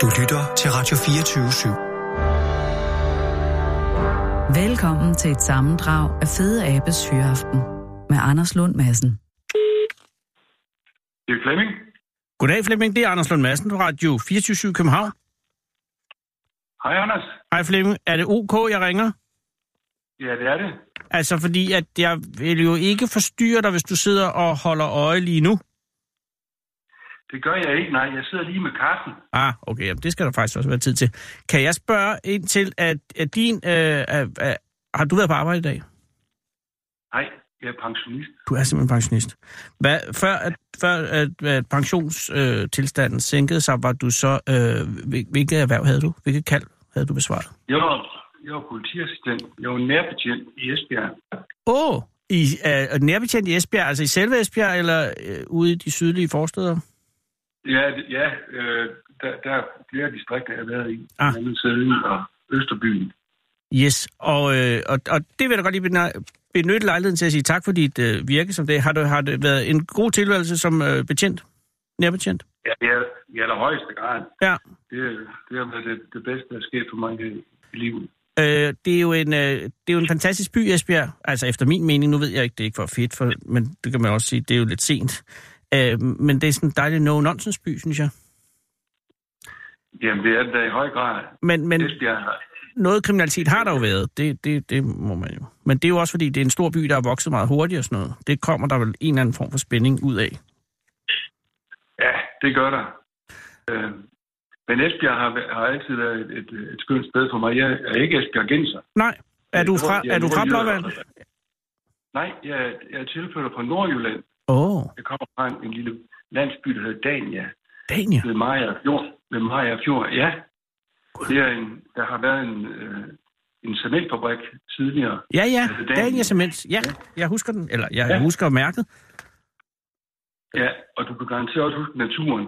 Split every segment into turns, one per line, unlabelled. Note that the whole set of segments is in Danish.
Du lytter til Radio 24
/7. Velkommen til et sammendrag af Fede Abes Hyreaften med Anders Lund Madsen.
Det er Flemming.
Goddag Flemming, det er Anders Lund Madsen på Radio 24 København.
Hej Anders.
Hej Flemming, er det OK, jeg ringer?
Ja, det er det.
Altså fordi, at jeg vil jo ikke forstyrre dig, hvis du sidder og holder øje lige nu.
Det gør jeg ikke, nej. Jeg sidder lige med kaffen.
Ah, okay. Jamen, det skal der faktisk også være tid til. Kan jeg spørge ind til, at, at din... Øh, øh, øh, har du været på arbejde i dag?
Nej, jeg er pensionist.
Du er simpelthen pensionist. Hvad, før at, før at, at pensionstilstanden øh, sænkede sig, var du så... Øh, hvilket erhverv havde du? Hvilket kald havde du besvaret?
Jeg var, jeg var politiassistent. Jeg var nærbetjent i Esbjerg.
Åh! Oh, i, øh, nærbetjent i Esbjerg, altså i selve Esbjerg, eller øh, ude i de sydlige forsteder?
Ja, ja øh, der, der er flere distrikter, jeg har været i. Ah. Sæden og Østerbyen.
Yes, og, øh, og, og det vil jeg da godt lige benytte lejligheden til at sige tak for dit øh, virke som det. Har det, har det været en god tilværelse som øh, betjent? Nærbetjent?
Ja, det er, i allerhøjeste grad.
Ja.
Det, det har været det, det bedste, der er sket for mig i livet.
Øh, det, er jo en, øh, det er jo en fantastisk by, Esbjerg. Altså efter min mening, nu ved jeg ikke, det er ikke for fedt, for, men det kan man også sige, det er jo lidt sent. Øh, men det er sådan en dejlig no-nonsense by, synes jeg.
Jamen, det er det da i høj grad.
Men, men
Esbjerg.
noget kriminalitet har der jo været. Det, det, det må man jo. Men det er jo også, fordi det er en stor by, der er vokset meget hurtigt og sådan noget. Det kommer der vel en eller anden form for spænding ud af.
Ja, det gør der. Øh, men Esbjerg har, har altid været et, et, et skønt sted for mig. Jeg er ikke Esbjerg Genser.
Nej. Er du fra, er du fra Blåvand?
Nej, jeg, er, jeg er tilflytter fra Nordjylland.
Oh.
Jeg kommer fra en, en lille landsby, der hedder Dania.
Dania?
Ved Maja Fjord. Ved Maja Fjord, ja. God. Det er en, der har været en, øh, en cementfabrik tidligere.
Ja, ja. Altså Dania. Dania Cement. Ja, jeg husker den. Eller jeg ja. husker mærket.
Ja, og du kan garanteret også huske naturen.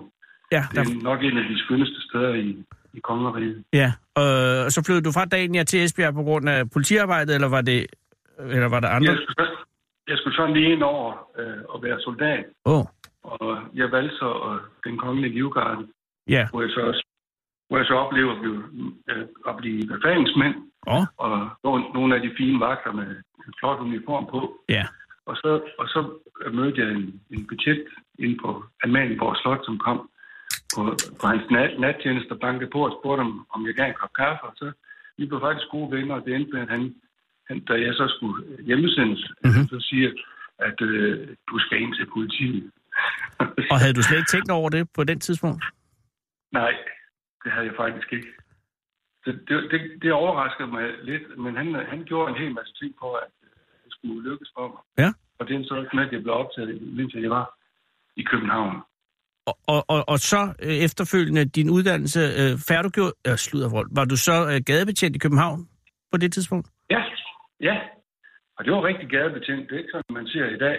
Ja,
der... Det er nok en af de skønneste steder i, i Kongeriget.
Ja, øh, og så flyttede du fra Dania til Esbjerg på grund af politiarbejdet, eller var det eller var der andre?
Jeg skulle, jeg skulle sådan lige ind over øh, at være soldat.
Oh.
Og jeg valgte så øh, den kongelige livgarde,
ja.
hvor jeg så også hvor jeg så oplever at blive, øh, at blive befalingsmænd,
oh.
og nogle af de fine vagter med en flot uniform på.
Ja.
Og så, og så mødte jeg en, en betjent inde på Amalienborg Slot, som kom på, på hans nat, nattjeneste og bankede på og spurgte, om, om jeg gav en kop kaffe. Og så vi blev faktisk gode venner, og det endte med, at han, han da jeg så skulle hjemmesendes, mm-hmm. så siger, at øh, du skal ind til politiet.
og havde du slet ikke tænkt over det på den tidspunkt?
Nej, det havde jeg faktisk ikke. Så det, det, det overraskede mig lidt, men han, han gjorde en hel masse ting på, at øh, det skulle lykkes for mig.
Ja.
Og det endte så også med, at jeg blev optaget, mens jeg var i København
og, og, og så øh, efterfølgende din uddannelse øh, færdiggjort, øh, sludervold, var du så øh, gadebetjent i København på det tidspunkt?
Ja, ja. Og det var rigtig gadebetjent, det er ikke sådan, man ser i dag.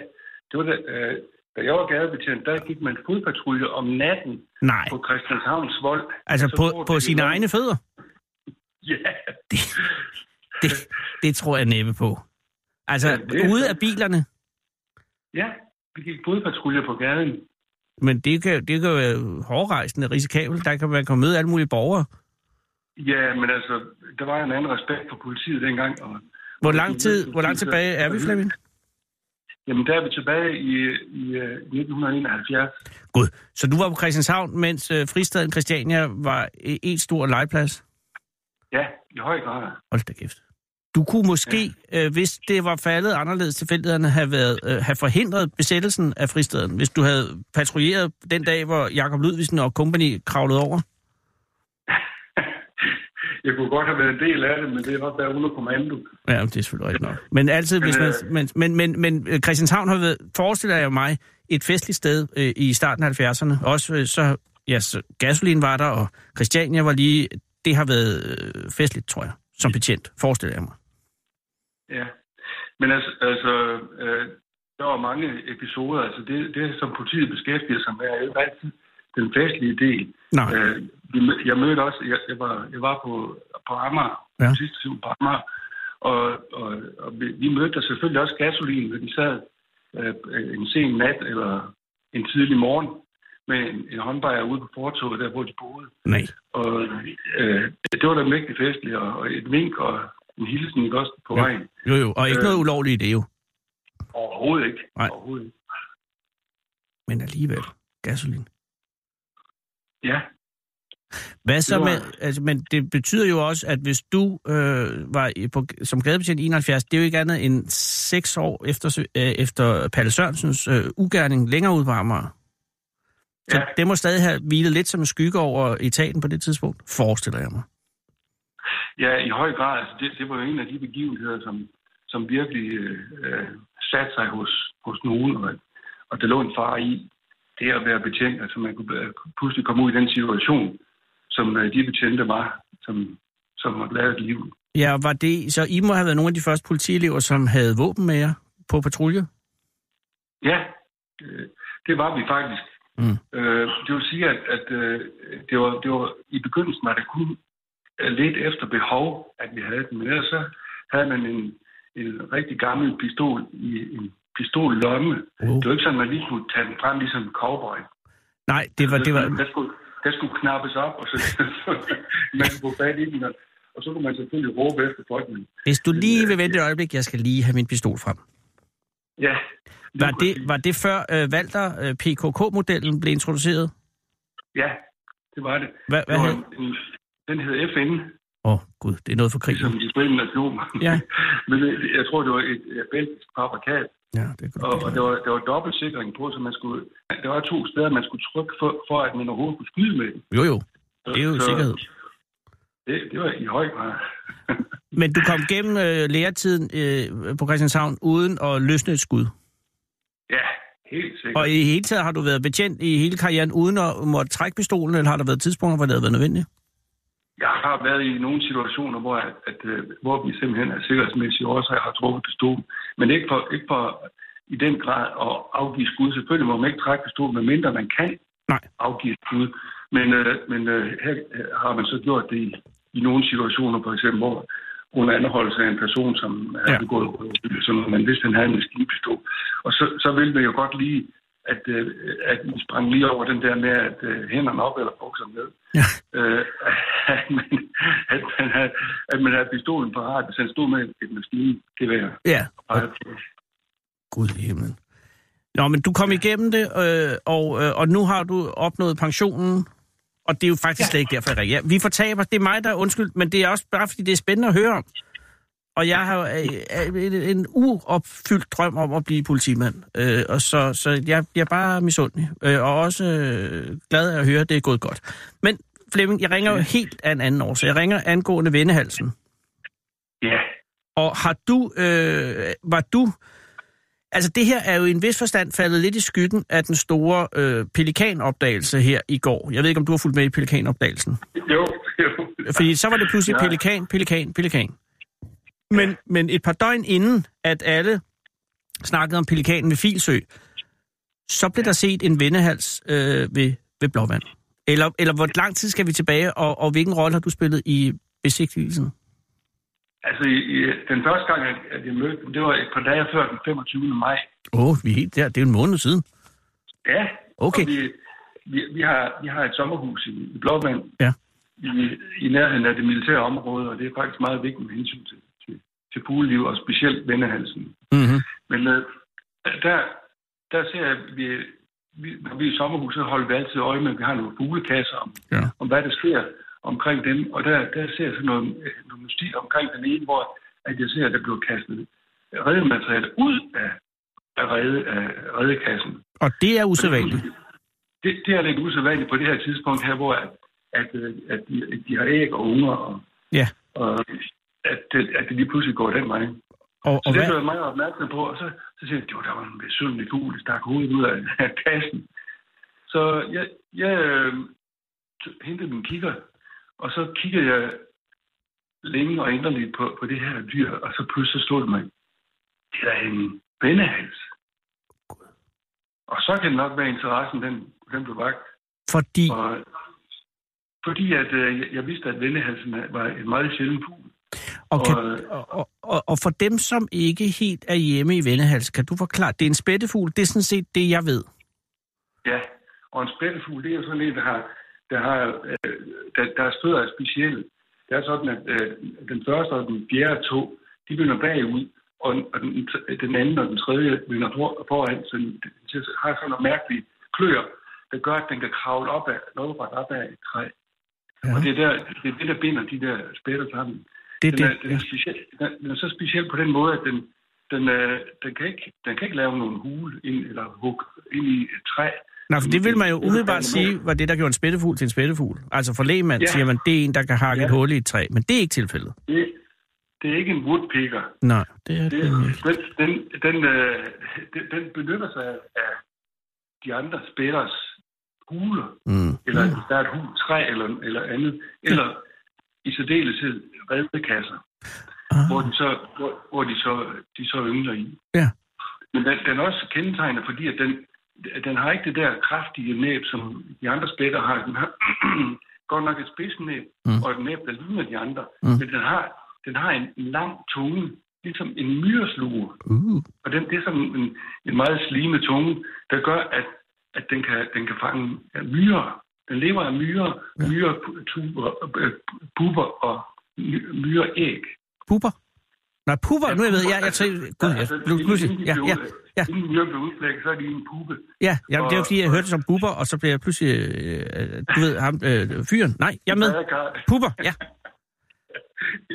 Det var det, øh, da jeg var gadebetjent, der gik man fodpatrulje om natten
Nej.
på Christianshavns vold.
Altså på, på sine egne land. fødder?
Ja.
Det, det, det tror jeg næppe på. Altså ja, ude af bilerne?
Ja, vi gik fodpatrulje på gaden.
Men det kan, det kan være hårdrejsende risikabelt. Der kan man komme med alle mulige borgere.
Ja, men altså, der var en anden respekt for politiet dengang. Og,
hvor lang tid, hvor langt tilbage er vi, Flemming?
Jamen, der er vi tilbage i, i 1971.
Gud, så du var på Christianshavn, mens øh, fristaden Christiania var et stor legeplads?
Ja, i høj grad.
Hold da kæft. Du kunne måske, ja. øh, hvis det var faldet anderledes tilfældighederne, have, været, øh, have forhindret besættelsen af fristaden, hvis du havde patruljeret den dag, hvor Jakob Ludvigsen og company kravlede over?
Jeg kunne godt have været en del af det, men det er nok der under kommando.
Ja, det er selvfølgelig rigtigt nok. Men øh, altid, hvis man... Men, men, men, men Christianshavn har været, forestiller jeg mig, et festligt sted øh, i starten af 70'erne. Også øh, så, ja, så gasolin var der, og Christiania var lige... Det har været øh, festligt, tror jeg, som betjent, forestiller jeg mig.
Ja, men altså, altså øh, der var mange episoder. Altså det, det, som politiet beskæftiger sig med, er jo altid den festlige del.
Nej.
Øh, jeg mødte også, jeg, jeg, var, jeg var på, på Amager,
ja.
sidste tid på Amager, og, og, og vi, vi mødte der selvfølgelig øh, også gasolin, når de sad øh, en sen nat eller en tidlig morgen. med en, en håndbejer ude på fortoget, der hvor de boede.
Nej.
Og øh, det var da mægtig festligt, og, og et mink og en hilsen ikke også på
Ja.
ja. vejen.
Jo, jo, og ikke
Øh.
noget ulovligt i det jo,
Overhovedet ikke.
Nej.
Overhovedet ikke.
men alligevel. Gasolin.
Ja,
Hvad så
Det var-
med, altså, men det betyder jo også, at hvis du øh, var i- på, som gadebetjent i 71, det er jo ikke andet end seks år efter, øh, efter Palle Sørensens øh, ugerning længere ud på Amager. Så
Ja.
det må stadig have hvilet lidt som en skygge over etaten på det tidspunkt, forestiller jeg mig.
ja i høj grad. Altså, det, det var jo en af de begivenheder, som, som virkelig øh, øh, satte sig hos, hos nogen, og, og der lå en far i det at være betjent, altså man kunne øh, pludselig komme ud i den situation, som øh, de betjente var, som, som måtte lave et liv.
Ja, var det, så I må have været nogle af de første politielever, som havde våben med jer på patrulje?
Ja, øh, det var vi faktisk. Mm. Øh, det vil sige, at, at øh, det, var, det var i begyndelsen var det kun øh, lidt efter behov, at vi havde den. Men ellers så havde man en, en rigtig gammel pistol i en pistollomme.
Uh.
Uh. Det var ikke sådan, at man lige kunne tage den frem ligesom en cowboy.
Nej, det var... Det var
Der, skulle, der skulle knappes op, og så, så man kunne få fat i den. Og, og så kunne man selvfølgelig råbe efter folk. Men,
hvis du lige vil vente et øjeblik, jeg skal lige have min pistol frem.
ja, lige
Var
præcis.
det, var det før øh, Valter øh, PKK-modellen blev introduceret?
Ja, det var det.
Hvad, hvad
det var
hed?
en, en, den hed FN.
Åh, oh, gud, det er noget for krigen.
som Ligesom de forenede nationer.
Ja.
Men øh, jeg tror, det var et øh, belgisk fabrikat,
Ja, det kan
og, og
godt
der,
være.
var, der var dobbeltsikring på, så man skulle, der var to steder, man skulle trykke for, for at man overhovedet kunne skyde med den.
Jo, jo,
Så,
det er jo sikkerhed.
Det, det var i høj grad.
Men du kom gennem øh, læretiden øh, på Christianshavn uden at løsne et skud.
Ja, helt sikkert.
Og i hele taget har du været betjent i hele karrieren uden at måtte trække pistolen, eller har der været tidspunkter, hvor det har været nødvendigt?
Jeg har været i nogle situationer, hvor, at, at, øh, hvor vi simpelthen af sikkerhedsmæssige årsager har trukket pistolen. Men ikke for, ikke for i den grad at afgive skud. Selvfølgelig må man ikke trække pistolen, medmindre man kan
Nej.
afgive skud. Men, øh, men øh, her øh, har man så gjort det i, i nogle situationer, for eksempel hvor under anholdelse af en person, som er
Ja.
ja. begået røveri, som man vidste, han havde en maskinpistol. Og så, så ville man jo godt lige, at, øh, at man sprang lige over den der med, at øh, hænderne op eller bukserne ned
Ja.
øh, at, man, at, man havde, at man havde pistolen parat, hvis han stod med et maskingevær.
Ja,
Og,
Gud i himlen. Nå, men du kom igennem det, øh, og, øh, og nu har du opnået pensionen, og det er jo faktisk ja. slet ikke derfor, jeg reagerer. Vi fortaber, det er mig, der er undskyld, men det er også bare, fordi det er spændende at høre om. Og jeg har øh, øh, en, en uopfyldt drøm om at blive politimand, øh, og så, så jeg, jeg er bare misundelig, øh, og også øh, glad af at høre, at det er gået godt. Men Flemming, jeg ringer jo helt af en anden årsag. Jeg ringer angående vendehalsen.
ja,
Og har du, øh, var du, altså det her er jo i en vis forstand faldet lidt i skyggen af den store øh, pelikanopdagelse her i går. Jeg ved ikke, om du har fulgt med i pelikanopdagelsen.
jo, jo.
Fordi så var det pludselig
Nej.
pelikan, pelikan, pelikan. Men, men et par døgn inden, at alle snakkede om pelikanen ved Filsø, så blev der set en vendehals øh, ved, ved Blåvand. Eller, eller hvor lang tid skal vi tilbage, og, og hvilken rolle har du spillet i besigtigelsen?
Altså, i, i, den første gang, at, at jeg mødte dem, det var et par dage før den 25. maj.
Åh, oh, vi er helt der. Det er jo en måned siden.
Ja,
Okay.
og vi, vi, vi, har, vi har et sommerhus i, i Blåvand,
Ja.
i, i nærheden af det militære område, og det er faktisk meget vigtigt med hensyn til, til, til fugleliv, og specielt vendehalsen.
Mm-hmm.
Men øh, der, der ser jeg, at vi, vi, når vi er i sommerhuset, holder vi altid øje med, at vi har nogle fuglekasser om,
Ja.
ja. om hvad der sker omkring dem. Og der, der ser jeg sådan noget, øh, noget mystik omkring den ene, hvor at jeg ser, at der bliver kastet redemateriale ud af, af, rede, af redekassen.
Og det er usædvanligt.
Det, det er lidt usædvanligt på det her tidspunkt her, hvor at, at, øh, at, de, at de har æg og unger, og,
Ja.
og at, det- at det lige pludselig går den vej.
Og,
Så
og
det
hvad,
blev jeg meget opmærksom på, og så, så siger jeg, jo, der var en besynderlig fugl, der stak hovedet ud af, af kassen. Så jeg, jeg øh, t- hentede min kigger, og så kiggede jeg længe og inderligt på, på det her dyr, og så pludselig så stod det mig, det er en vendehals. Og så kan det nok være interessen, den, den blev vagt.
fordi,
Og, fordi at, øh, jeg- jeg vidste, at vendehalsen var en meget sjælden fugl.
og, kan,
og- øh,
og, og, og for dem, som ikke helt er hjemme i Vennehals, kan du forklare, det er en spættefugl, det er sådan set det, jeg ved.
Ja, Og en spættefugl, det er jo sådan en, der har, der, har, øh, der, der støder er specielle. Det er sådan, at øh, den første og den fjerde to, de vender bagud, og, og den, den anden og den tredje vender for, foran, så den, den har sådan nogle mærkelige klør, der gør, at den kan kravle op af, lodret op af et træ. Ja. Og det er, der, det er det, der binder de der spætter sammen.
Det er
den,
det.
er, den, er speciel, den, den er så speciel på den måde, at den, den, øh, den, kan, ikke, den kan ikke lave nogen hule ind, eller hug ind i et træ.
Nå, for det vil man jo umiddelbart sige, var det, der gjorde en spættefugl til en spættefugl. Altså for lægmand
Ja.
siger man, det er en, der kan hakke
Ja.
et hul i et træ, men det er ikke tilfældet.
Det, det er ikke en woodpicker.
Nej, det er
Det,
det ikke.
den, den, den, øh, den, den benytter sig af de andre spillers huler,
Mm.
eller hvis der er et hul, træ eller, eller andet, eller i særdeleshed redekasser, hvor
Ah.
de så, hvor, hvor de så, de så yngler i.
Ja.
Men den, den er også kendetegnet, fordi at den, den har ikke det der kraftige næb, som de andre spætter har. Den har godt nok et spidsnæb,
Mm.
mm. og et næb, der ligner de andre.
Mm.
Mm. Men den har, den har en lang tunge, ligesom en myresluger.
Uh.
Og den, det er sådan en, en meget slimet tunge, der gør, at, at den, kan, den kan fange ja, myrer. Den lever af myrer, ja. myrer, tuber, øh, puber og my- myreæg.
Puber? Nej, puber, nu jeg ved, jeg, jeg tænker,
Altså,
gud, jeg blev pludselig, ja, ja, ja.
Inden myrer bliver udklækket, så er de en pube.
Ja, jamen, det er jo fordi, jeg hørte det som buber, og så blev jeg pludselig, øh, øh, du ved, ham, øh, fyren. Nej, jeg er med.
Der er gar-
Puber, ja.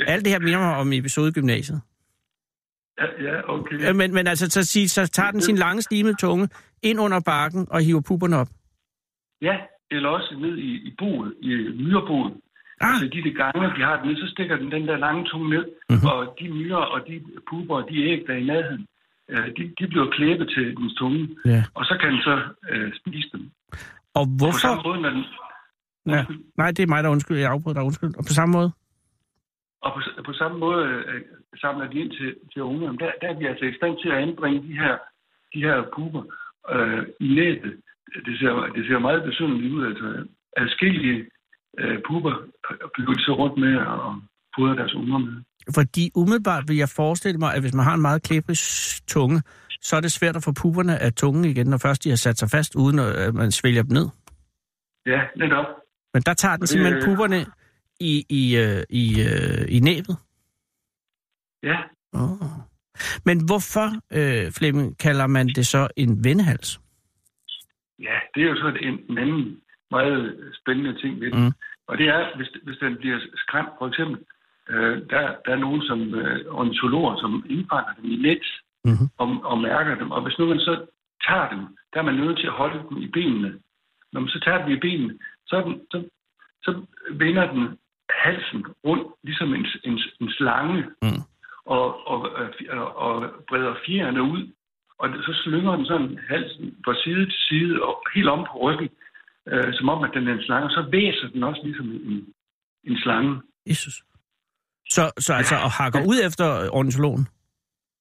Alt det her minder mig om episodegymnasiet.
Ja, ja, okay.
Øh, Men, men altså, så, sig, så tager den sin lange, slimede tunge ind under bakken og hiver puberne op.
Ja, eller også ned i, i boet, i myrerbåden. Ah.
Ah,
Altså de, de gange, de har den ned, så stikker den den der lange tunge ned,
Mhm.
mm-hmm. og de myrer og de puber og de æg, der er i nærheden, øh, de, de bliver klæbet til dens tunge,
ja.
og så kan den så øh, spise dem.
Og
På samme
hvorfor...
måde, når den,
Ja. Nej, det er mig, der undskyld. Jeg afbrød dig, undskyld. Og på samme måde.
og på, på samme måde øh, samler de ind til, til ungerne. Der, der er vi altså i stand til at anbringe de her, de her puber øh, i næbet. Det ser, det ser meget besynderligt ud. Altså, adskillige øh, puber bliver de så rundt med og fodrer deres unger med.
Fordi umiddelbart vil jeg forestille mig, at hvis man har en meget klæbrig s- tunge, så er det svært at få puberne af tungen igen, når først de har sat sig fast, uden at at man svælger dem ned.
Ja, netop.
Men der tager den
Det-
simpelthen puberne i, i, øh, i, øh, i næbet.
Ja.
Oh. Men hvorfor, øh, Flemming, kalder man det så en vendehals?
Ja, det er jo så en, en anden meget spændende ting ved den.
Mm.
Mm. Og det er, hvis, hvis den bliver skræmt, for eksempel, øh, der, der er nogen som øh, ornitologer, som indfanger dem i net
Mhm.
mm-hmm. og, og mærker dem. Og hvis nu man så tager dem, der er man nødt til at holde dem i benene. Når man så tager dem i benene, så, er den, så, så vender den halsen rundt, ligesom en, en, en slange,
Mm.
og, og, og, og breder fjerene ud og så slynger den sådan halsen fra side til side og helt om på ryggen, øh, som om, at den er en slange. Og så væser den også ligesom en, en slange.
Jesus. Så, så altså, og hakker ud efter ornitologen?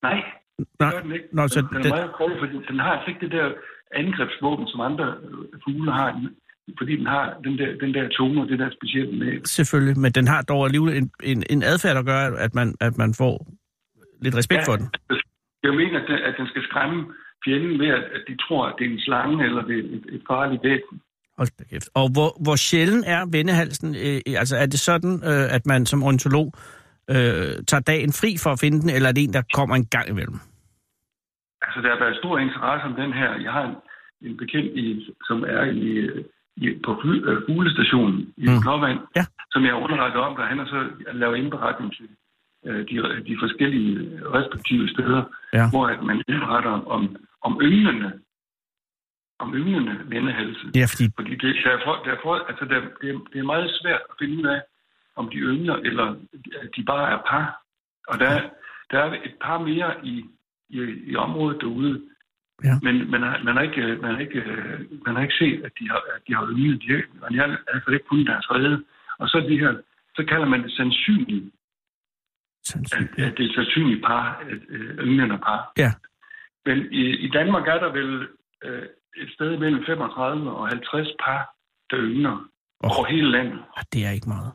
Nej,
Nej.
det gør den ikke.
Nå, så
den, den, er
den-
meget kold, fordi den har altså ikke det der angrebsvåben, som andre øh, fugle har, fordi den har den der, den der tone og det der specielle med.
Selvfølgelig, men den har dog alligevel en, en, en adfærd, der gør, at man, at man får lidt respekt ja. for den.
altså, Jeg mener, at den, at den skal skræmme fjenden ved, at, at de tror, at det er en slange eller det er et, et farligt væsen.
Hold da kæft. Og hvor, hvor sjælden er vendehalsen? Øh, altså, er det sådan, øh, at man som ornitolog øh, tager dagen fri for at finde den, eller er det en, der kommer en gang imellem?
Altså, der har været stor interesse om den her. Jeg har en, en bekendt, i, som er i, øh, i, på fly, øh, fuglestationen i
Mm.
mm. Blåvand,
Ja.
som jeg underretter om, og han har så lavet indberetning til øh, de, de forskellige respektive steder,
Ja.
hvor at man indberetter om, om ynglende, om ynglende vendehalse.
Ja, fordi
Fordi det, der er for, der er for, altså der, det, er, det er meget svært at finde ud af, om de yngler, eller at de bare er par. Og der, er- der er et par mere i, i, i området derude,
Ja.
men man har, man, har ikke, øh, man, har ikke, øh, man har ikke set, at de har, at de har ynglet. De har, man har i hvert fald ikke kun deres rede. Og så, de her, så kalder man det sandsynligt, at,
sandsynligt.
at det er et sandsynligt par, at øh, ynglende par.
Ja.
Men i, i Danmark er der vel øh, et sted mellem 35 og 50 par, der yngler
Åh.
over hele landet.
Ah, det er ikke meget.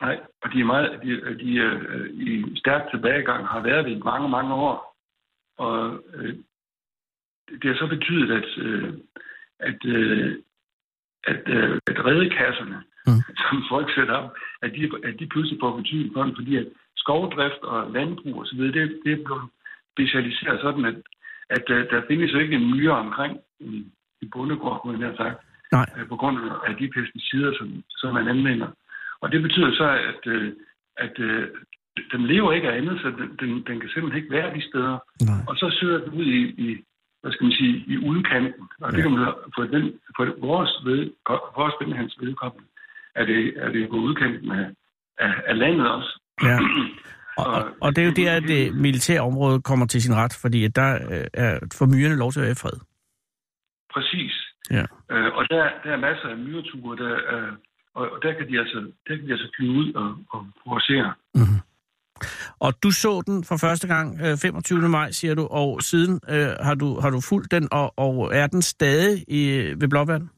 Nej, og de er, meget, de, de er øh, i stærk tilbagegang, har været det i mange, mange år. Og øh, det har så betydet, at, øh, at, øh, at, øh, at redekasserne,
Mm.
mm. som folk sætter op, at de, at de pludselig får betydning for dem, fordi at skovdrift og landbrug osv., det, det er blevet specialiseret sådan, at, at øh, der findes jo ikke en myre omkring en, en bondegård, kunne jeg nær sagt,
Nej.
øh, på grund af de pesticider, som, som man anvender. Og det betyder så, at, øh, at øh, den lever ikke af andet, så den, den, den kan simpelthen ikke være de steder,
Nej.
og så søger den ud i, i hvad skal man sige, i udkanten. Og det
Ja.
kan man for, den, for vores, ved, vores vindhands vedkommende, er det, er det på udkanten af, af, af landet også.
Ja. Og, og, og det er jo der, at det militære område kommer til sin ret, fordi at der øh, er for myrerne lov til at være i fred.
Præcis.
Ja.
Øh, og der, der er masser af myreture, der, øh, og, og der, kan de altså, der kan de altså flyve ud og, og provocere.
Og du så den for første gang øh, 25. maj, siger du, og siden øh, har, du, har du fulgt den, og, og er den stadig i, øh, ved Blåvand?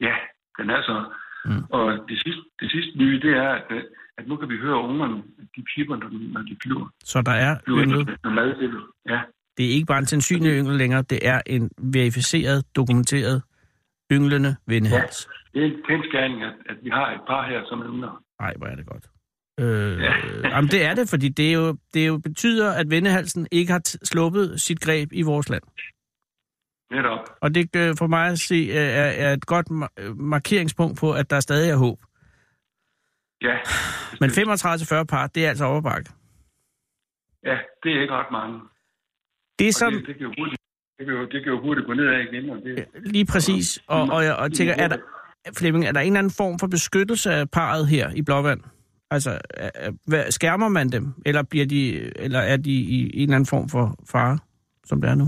Ja, den er så.
Mm.
Mm. Og det sidste, det sidste nye, det er, at, øh, at nu kan vi høre ungerne, at de piper, når de, når de flyver.
Så der er
flyver ind
ynglet.
med madbillede. Ja.
Det er ikke bare en sandsynlig yngel længere, det er en verificeret, dokumenteret ynglende vindhals.
Det er en kendskærning, at, at vi har et par her, som yngler.
Nej, hvor er det godt. Øh, jamen det er det, fordi det, er jo, det er jo betyder, at vendehalsen ikke har t- sluppet sit greb i vores land.
Netop.
Og det øh, for mig at se øh, er, er et godt ma- øh, markeringspunkt på, at der stadig er håb.
Ja.
Men 35-40 par, det er altså overbakke.
ja, det er ikke ret mange.
Det er
Og
sådan
det, det, kan jo hurtigt, det, kan jo, det kan jo hurtigt gå nedad igen. Og det,
øh, lige præcis, og, og jeg og tænker, er der, Flemming, er der en eller anden form for beskyttelse af parret her i Blåvand? Altså, er- er- hvad, skærmer man dem, eller, bliver de, eller er de i en eller anden form for fare, som det er nu?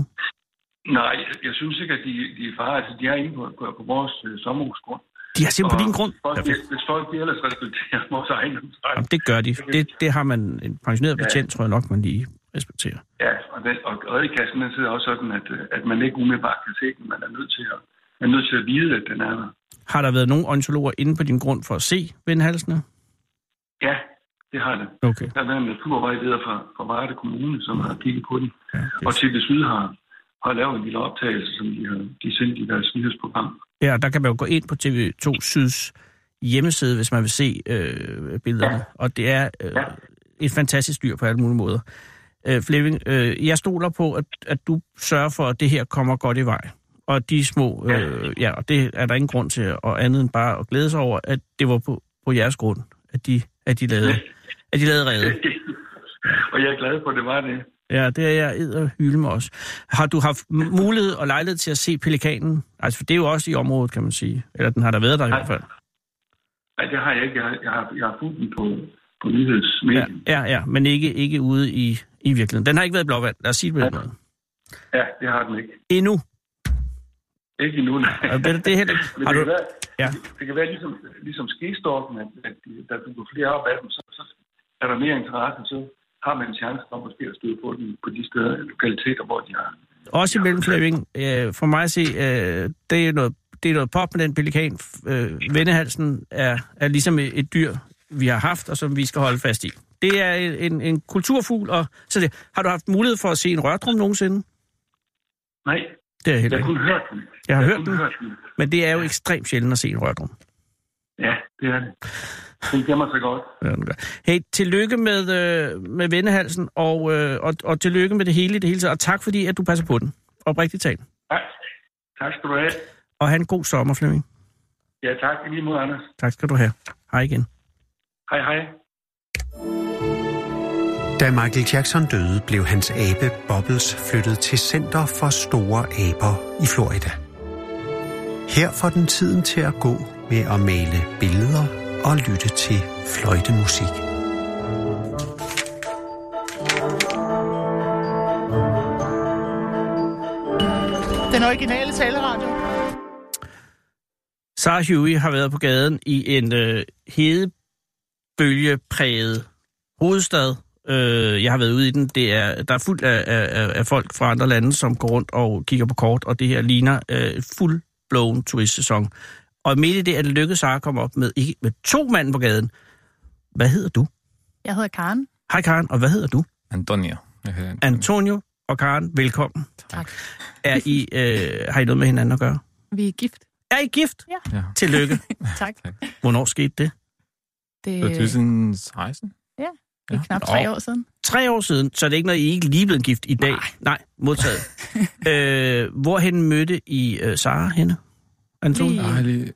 Nej, jeg, jeg synes ikke, at de, de er far. Altså, de er inde på, på, på vores øh, sommerhusgrund.
De Altså, er simpelthen på din grund.
Folk, hvis folk de ellers respekterer vores ejendomsret,
Jamen, det gør de. Det, det har man en pensioneret
Ja.
patient, tror jeg nok, man lige respekterer.
Ja, og, den, og redekassen den sidder også sådan, at, øh, at man ikke umiddelbart kan se den. Man er nødt til at, man er nødt til at vide, at den er der.
Har der været nogen ontologer inde på din grund for at se vindhalsene?
Ja, det har det.
Okay.
Der har været en naturvejleder fra, fra Varde Kommune, som har kigget på den. Og TV Syd har, har lavet en lille optagelse, som de har de sendt i deres nyhedsprogram.
Ja, der kan man jo gå ind på TV2 Syds hjemmeside, hvis man vil se øh, billederne. Ja.
Ja.
Og det er øh,
Ja.
et fantastisk dyr på alle mulige måder. Øh, Flemming, øh, jeg stoler på, at, at du sørger for, at det her kommer godt i vej. Og de små,
Ja.
øh, ja, og det er der ingen grund til, og andet end bare at glæde sig over, at det var på, på jeres grund, at de, at de lavede, at de lavede redde.
og jeg er glad for, at det var det.
Ja, det er jeg edder hylde med også. Har du haft m- mulighed og lejlighed til at se pelikanen? Altså, for det er jo også i området, kan man sige. Eller den har der været der i
Nej.
hvert fald.
Nej, det har jeg ikke. Jeg har, jeg har, jeg har fulgt den på, på
Ja,
nyhedsmedien.
ja, ja, men ikke, ikke ude i, i virkeligheden. Den har ikke været i blåvand, lad os sige det på den måde.
Ja. ja, det har den ikke.
Endnu.
Ikke endnu, nej.
Og Det, det er heller ikke.
Men
Har
det, kan
du,
være,
Ja.
det kan være ligesom, ligesom skestorken, at, at de- der dukker flere op af dem, så, så er der mere interesse, så har man en chance for måske at støde på den på de steder, lokaliteter, hvor de har.
også imellem Flemming, øh, for mig at se, øh, det, er noget, det er noget pop med den pelikan. Øh, vendehalsen er, er ligesom et, et dyr, vi har haft, og som vi skal holde fast i. Det er en, en, en kulturfugl, og så det. Har du haft mulighed for at se en rørdrum nogensinde?
Nej,
Det er heller
jeg
ikke.
kunne høre den.
Jeg har hørt
kunne
den.
hørt den.
Men det er jo ekstremt sjældent at se en rørdrum.
Ja, det er det. Den gemmer sig godt.
Ja, den gør. Hey, tillykke med, øh, med vendehalsen, og, øh, og, og tillykke med det hele i det hele taget. Og tak fordi, at du passer på den. Oprigtigt talt.
Tak. Tak skal du have.
Og have en god sommer, Flemming.
Ja, tak. I lige måde, Anders.
Tak skal du have. Hej igen.
Hej, hej.
Da Michael Jackson døde, blev hans abe Bobbles flyttet til Center for Store Aber i Florida. Her får den tiden til at gå med at male billeder og lytte til fløjtemusik.
Den originale taleradio.
Sarah Huey har været på gaden i en øh, hedebølgepræget hovedstad. Øh, jeg har været ude i den. Det er, der er fuldt af, af, af- af folk fra andre lande, som går rundt og kigger på kort, og det her ligner øh, fuld blown turistsæson. Og midt i det er det lykkedes Sarah at komme op med, ikke, med to mænd på gaden. Hvad hedder du?
Jeg hedder Karen.
Hej Karen, og hvad hedder du?
Antonio. Jeg hedder Antonio.
Antonio og Karen, velkommen.
Tak.
Er I, øh, har I noget med hinanden at gøre?
Vi er gift.
Er I gift?
Ja.
Ja.
Tillykke.
tak.
Hvornår skete det?
Det
Det var 2016.
det er Øh, knap
Nå.
tre år siden.
Tre år siden, så er det ikke noget, I er ikke lige blevet gift i dag. Nej, Nej modtaget. øh, hvorhen mødte I øh, Sara henne? Anton?
Lige-
Nej, lige...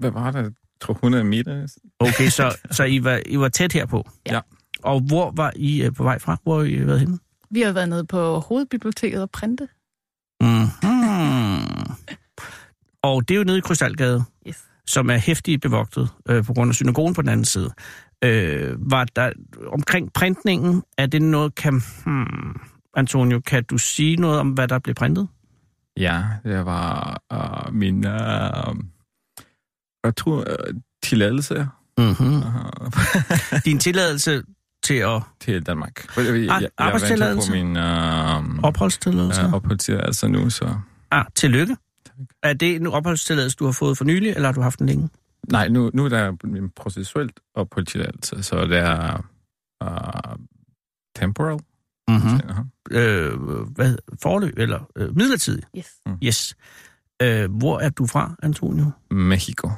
Hvad var det? 200 meter?
Okay, så, så I, var, I var tæt herpå?
Ja.
Og hvor var I øh, på vej fra? Hvor har I været henne?
Vi har været nede på hovedbiblioteket og printe.
Mm-hmm. Og det er jo nede i Krystalgade,
Yes.
som er hæftigt bevogtet øh, på grund af synagogen på den anden side. Øh, var der omkring printningen, er det noget, kan... Hmm, Antonio, kan du sige noget om, hvad der blev printet?
Ja, det var uh, min uh, øh, returtilladelse
Mm-hmm.
uh,
Din tilladelse til at
til Danmark. Jeg, jeg, jeg, jeg venter
arbejdstilladelse?
på min uh,
opholdstilladelse?
uh, opholdstilladelse nu, så...
Ah, tillykke. Er det en opholdstilladelse, du har fået for nylig, eller har du haft den længe?
Nej, nu, nu er der min processuelt opholdstilladelse, så det er uh, temporal.
Mhm.
Mm-hmm.
Uh-huh.
Øh, hvad, forløb, eller øh, midlertidig?
Yes.
Yes. Øh, hvor er du fra, Antonio?
Mexico.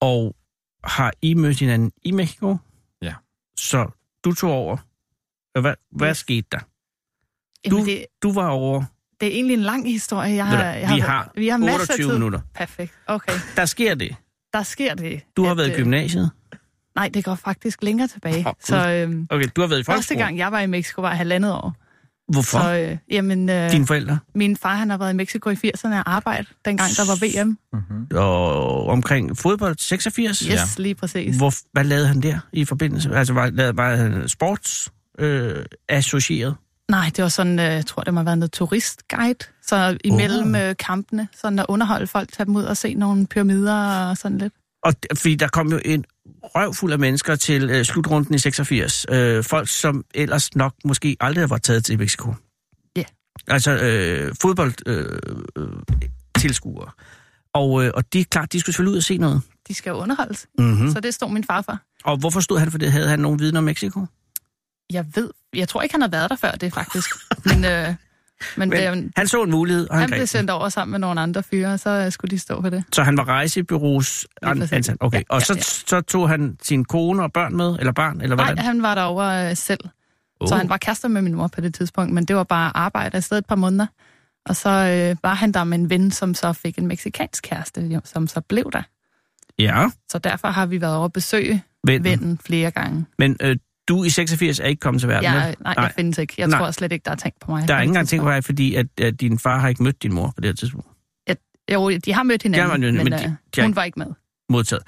Og har I mødt hinanden i Mexico?
Ja.
Så du tog over. Og Hvad, hvad
Yes.
skete der?
Jamen,
Du-
det,
Du var over
det er egentlig en lang historie. Jeg
Ved
har,
du hvad,
Ah, jeg har,
vi har
vi har masser af
28
tid.
minutter.
Perfekt. Okay.
Der sker det.
Der sker det.
Du har
at,
været i
øh,
gymnasiet.
Nej, det går faktisk længere tilbage.
Åh, Gud.
så øhm,
Okay, du har været i
første
folkeskolen.
gang, jeg var i Mexico, var jeg halvandet år.
Hvorfor?
Så, øh, jamen, øh,
Dine forældre?
min far han har været i Mexico i 80'erne og arbejde, dengang der var VM. Mhm.
Uh-huh.
Og omkring fodbold 86?
Yes, ja. lige præcis.
Hvor, hvad lavede han der i forbindelse? Altså, var, lavede, var han sports øh, associeret?
Nej, det var sådan, øh, jeg tror, det må have været noget turistguide. Så imellem øh, kampene, sådan at underholde folk, tage dem ud og se nogle pyramider og sådan lidt.
Og d- fordi der kom jo en røvfuld af mennesker til øh, slutrunden i 86. Øh, folk, som ellers nok måske aldrig var taget til Mexico.
Ja.
Altså øh, fodbold øh, øh, tilskuere. Og, øh, og det er klart, de skulle selvfølgelig ud og se noget.
De skal jo underholdes,
Mm-hmm.
mm. så det stod min far for.
Og hvorfor stod han for det? Havde han nogen viden om Mexico?
Jeg ved, jeg tror ikke, han har været der før det faktisk. men øh, men,
Men
men
Han så en mulighed, og han,
han
greb
blev
den.
sendt over sammen med nogle andre fyre, og så øh, skulle de stå for det.
Så han var rejsebyrås
Lige
an-
præcis.
ansat. Okay,
Ja,
og
ja,
så,
ja.
så tog han sin kone og børn med, eller barn, eller hvordan?
Nej, han var derovre øh, selv. Oh. Så han var kærester med min mor på det tidspunkt, men det var bare arbejde afsted et par måneder. Og så øh, var han der med en ven, som så fik en meksikansk kæreste, jo, som så blev der.
Ja,
Så derfor har vi været over at besøge
ven. ven.
vennen flere gange.
Men øh, du i 86 er ikke kommet til verden,
Jeg,
vel?
nej, jeg findes ikke. Jeg
Nej.
nej. tror slet ikke, der er tænkt på mig.
Der er
på
ikke
det
engang ting på
tidspunkt.
vej, fordi at, at din far har ikke mødt din mor på det her tidspunkt.
Jo, de har mødt hinanden,
Ja, men-
men,
men
men
de- de har
øh,
ikke-
hun var ikke med.
Modtaget.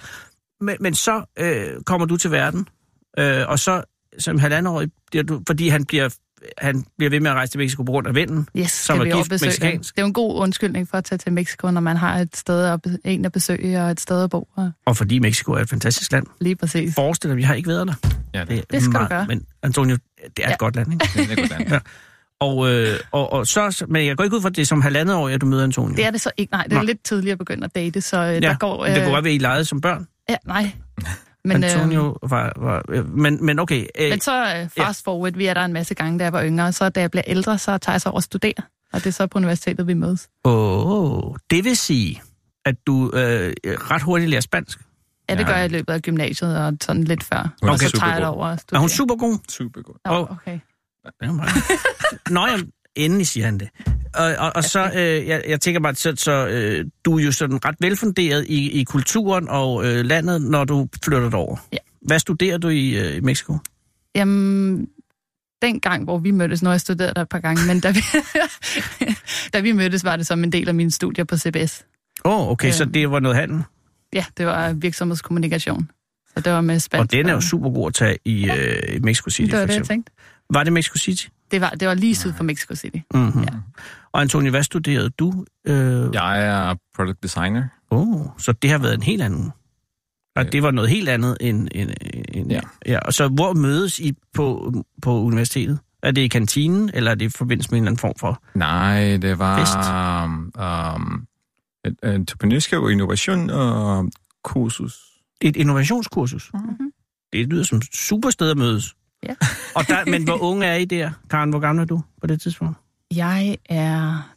Men, men så øh, kommer du til verden, øh, og så som halvandenårig bliver du, fordi han bliver, han bliver ved med at rejse til Mexico på grund af vinden.
Yes,
Som
det
var
vil jeg
gift
også besøge.
mexikansk.
Det er jo en god undskyldning for at tage til Mexico, når man har et sted at, be- en at besøge og et sted at bo. Og
Og fordi Mexico er et fantastisk land.
lige præcis.
Forestil dig, vi har ikke været der.
Ja, det,
er
Det skal du
meget-
gøre.
Men Antonio, det er et
Ja.
godt land, ikke?
det er godt.
Ja. Og, øh, og, og så, men jeg går ikke ud fra, at det er som halvandet år, at du møder Antonio.
Det er det så ikke. Nej, det er
Nej.
lidt tidligere at begynde at date, så ja,
ja,
der går... øh,
men Det kunne godt være, at I legede som børn.
ja, nej.
Men,
Men, øh,
Antonio var... var øh, men, men okay, øh,
men så øh, fast forward, vi er der en masse gange, da jeg var yngre, og så da jeg bliver ældre, så tager jeg så over at studere. Og det er så på universitetet, vi mødes.
åh, det vil sige, at du øh, ret hurtigt lærer spansk.
Ja, det
Ja.
gør jeg i løbet af gymnasiet og sådan lidt før.
Hun er
Og så
super
tager jeg
god.
det over og
Er
studerer.
hun super god?
Super godt.
Nå, okay.
Det er meget. Nå, jamen, endelig siger han det. Og, og, og så, øh, jeg, jeg tænker bare, så, så øh, du er jo sådan ret velfunderet i, i kulturen og øh, landet, når du flytter derover.
Ja.
Hvad studerer du i, øh, i Mexico?
Jamen, dengang, hvor vi mødtes, nu har jeg studeret der et par gange, men da vi, da vi mødtes, var det som en del af mine studier på CBS.
Åh, oh, okay,
Øhm.
så det var noget handel.
Ja, det var virksomhedskommunikation. Så det var med
Og
spansk.
den er jo super god at tage i, øh, i Mexico City,
Det
for
var det, jeg
eksempel.
tænkte.
Var det Mexico City?
Det var, det var lige syd for Mexico City.
Mm-hmm. Ja.
Ja.
Og Antonio, hvad studerede du? Øh, ja.
Jeg er product designer.
oh, så det har været en helt anden. Og
Ja.
det var noget helt andet end... end, end ja.
Ja.
ja. Og så hvor mødes I på, på universitetet? Er det i kantinen, eller er det i forbindelse med en eller anden form for...
Nej, det var
Fest.
um, um, et entreprenørskab og innovation og kursus.
Et innovationskursus?
Mhm.
Det lyder som et super sted at mødes.
Ja.
Og der, men hvor unge er I der? Karen, hvor gammel er du på det tidspunkt?
Jeg er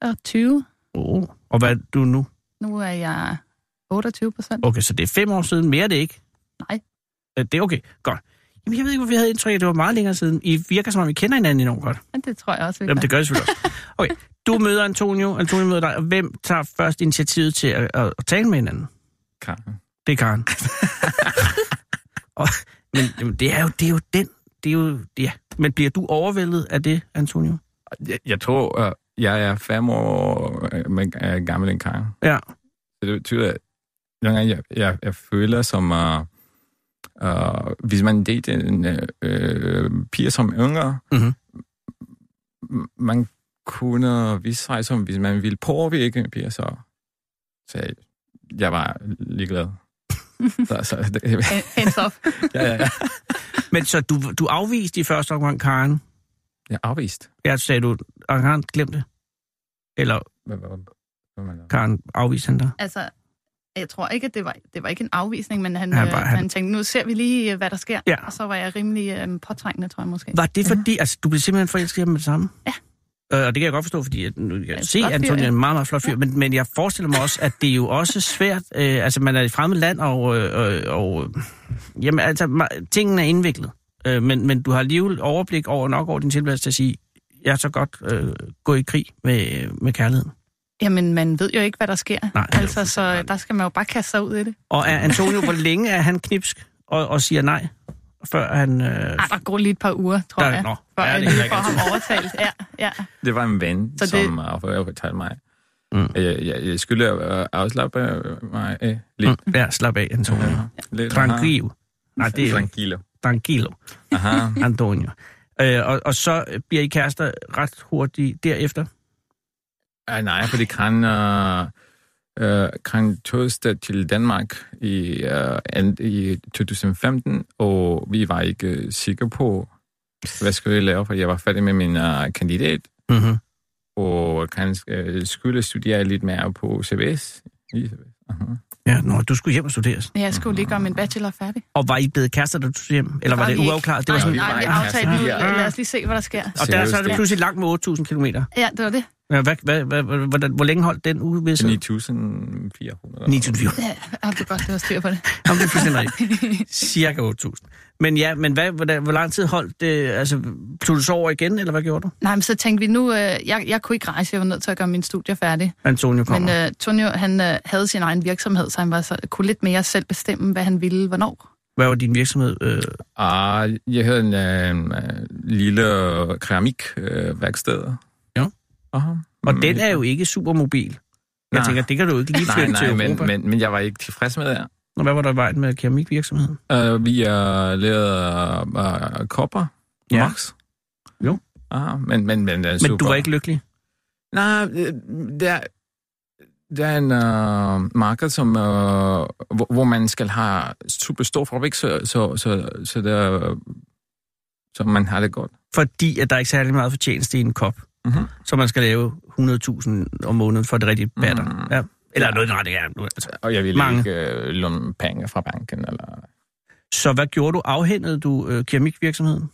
23.
Oh. Og hvad er du nu?
Nu er jeg 28 procent.
Okay, så det er fem år siden. Mere er det ikke?
Nej.
Øh, Det er okay. Godt. Jamen, jeg ved ikke, hvorfor vi havde indtryk af, at det var meget længere siden. I virker, som om I kender hinanden enormt godt.
Men det tror jeg også, vi
Jamen,
gør.
det gør jeg selvfølgelig også. Okay, du møder Antonio, Antonio møder dig. og Hvem tager først initiativet til at, at, at tale med hinanden?
Karen.
Det er Karen. og, men jamen, det, er jo, det er jo den. Det er jo, ja. Men bliver du overvældet af det, Antonio?
Jeg, jeg tror, øh, jeg er fem år øh, men, øh, gammel end Karen.
Ja.
Så det betyder, at nogle gange, jeg, jeg, jeg føler som... Uh, uh, hvis man dater en uh, pige som yngre,
Mhm.
m- man kunne vise sig som, hvis man ville påvirke en pige, så, så jeg, jeg var ligeglad. så, så, det, ja,
Hands off.
ja, ja.
Men så du, du afviste i første omgang Karen.
Jeg er afvist.
Ja, så sagde du, og Karen glemte det. Eller
Hvad- hvad- hvad- hvad man-
Karen afviste han dig.
Altså, jeg tror ikke, at det var, det var ikke en afvisning, men han,
Han
han,
var-
øh,
han-
han tænkte, nu ser vi lige, øh, hvad der sker.
Ja.
Og så var jeg rimelig øh, påtrængende, tror jeg måske.
Var det fordi, altså du blev simpelthen forelsket i ham med det samme? Ja. Øh, og det kan jeg godt forstå, fordi at, nu, jeg
en
kan se,
flot
at
fyr,
Antonio er
ja.
en meget, meget flot fyr, ja. men, men jeg forestiller mig også, at det er jo også svært, øh, altså man er i et fremmed land, og, øh, øh, og øh, jamen, altså, ma- tingene er indviklet, øh, men, men du har alligevel overblik over nok over din tilværelse til at sige, jeg så godt øh, gå i krig med, øh, med kærligheden.
Jamen, man ved jo ikke, hvad der sker.
Nej.
Altså, så der skal man jo bare kaste sig ud i det.
Og er Antonio, hvor længe er han knipsk og, og siger nej, før han... Øh,
Ej, Ah, der går lige et par uger, tror
Der-
jeg,
Nå,
før
ja,
jeg
det kan
lige
jeg
får
ikke
ham overtalt. Ja, ja.
Det var en ven,
Så
så
det-
det... som uh, fortalte mig.
Mm.
Mm. Jeg, jeg, jeg skulle uh, afslappe øh, mig af lidt.
mm,
Mm.
ja, slap af, Antonio.
Ja. lidt
Tranquilo. Nej, det er
Tranquilo.
tranquilo.
Aha.
Antonio. Øh, og, og så bliver I kærester ret hurtigt derefter.
Ah, nej, for det kan, uh, uh, kan toste til Danmark i, uh, and, i 2015, og vi var ikke øh, sikre på, hvad skulle jeg lave, for jeg var færdig med min uh, kandidat,
Mm-hmm.
og kan, uh, skulle studere lidt mere på CBS. I CBS. Aha.
Ja, nå, du skulle hjem og studere.
Men jeg skulle lige gøre min bachelor færdig.
Og var I blevet kærester, da du tog hjem? Eller var
var
det
vi ikke.
uafklaret? Det var
Nej,
sådan,
vi
Nej,
var
vi
ikke
aftalte nu.
kærester.
Lad os lige se, hvad der sker.
og der så er
Seriøst,
det
ja.
pludselig langt med 8.000 km.
Ja, det var det.
Hvad, hvad, hvad, hvad, hvordan, hvor længe holdt den uge ved så? 9.000.
9.400.
9.000.
Ja, og det er godt, det var styr på det.
Jamen, det er fuldstændig rigtigt. Cirka 8.000. Men ja, men hvad, hvordan, hvor lang tid holdt det? Altså, tog du så over igen, eller hvad gjorde du?
Nej, men så tænkte vi nu, øh, jeg, jeg kunne ikke rejse, jeg var nødt til at gøre mine studier færdige.
Antonio kommer.
Men
Men,
øh, Tonio, han øh, havde sin egen virksomhed, så han var så, kunne lidt mere selv bestemme, hvad han ville, hvornår.
hvad var din virksomhed? Øh,
Ah, jeg havde en øh, øh, lille keramikværksted. Øh, værksted.
Ja.
Aha.
og
Mm,
den er
helt-
jo ikke super mobil. Jeg
Nej.
tænker, det kan du jo ikke lige
Nej,
flytte til
nej,
Europa.
men, men, men jeg var ikke tilfreds med det.
Og hvad var der i vejen med keramikvirksomheden?
Uh, vi har lavet uh, kopper,
Ja.
ja. Max.
Jo.
Aha, men, men, men, uh,
Men du var ikke lykkelig?
Nej, øh, der, der er en uh, marked, som, uh, hvor, hvor man skal have super stor fabrik, så, så, så, så, der, øh, så man har det godt.
fordi at der er ikke særlig meget fortjeneste i en kop,
Mhm.
så man skal lave 100.000 om måneden for det rigtige batter.
Mhm.
Ja. Eller
Ja.
noget, nej, det er nu, altså.
Og jeg ville
Mange.
Mange. ikke øh, låne penge fra banken. Eller...
Så hvad gjorde du? Afhændede du øh, keramikvirksomheden?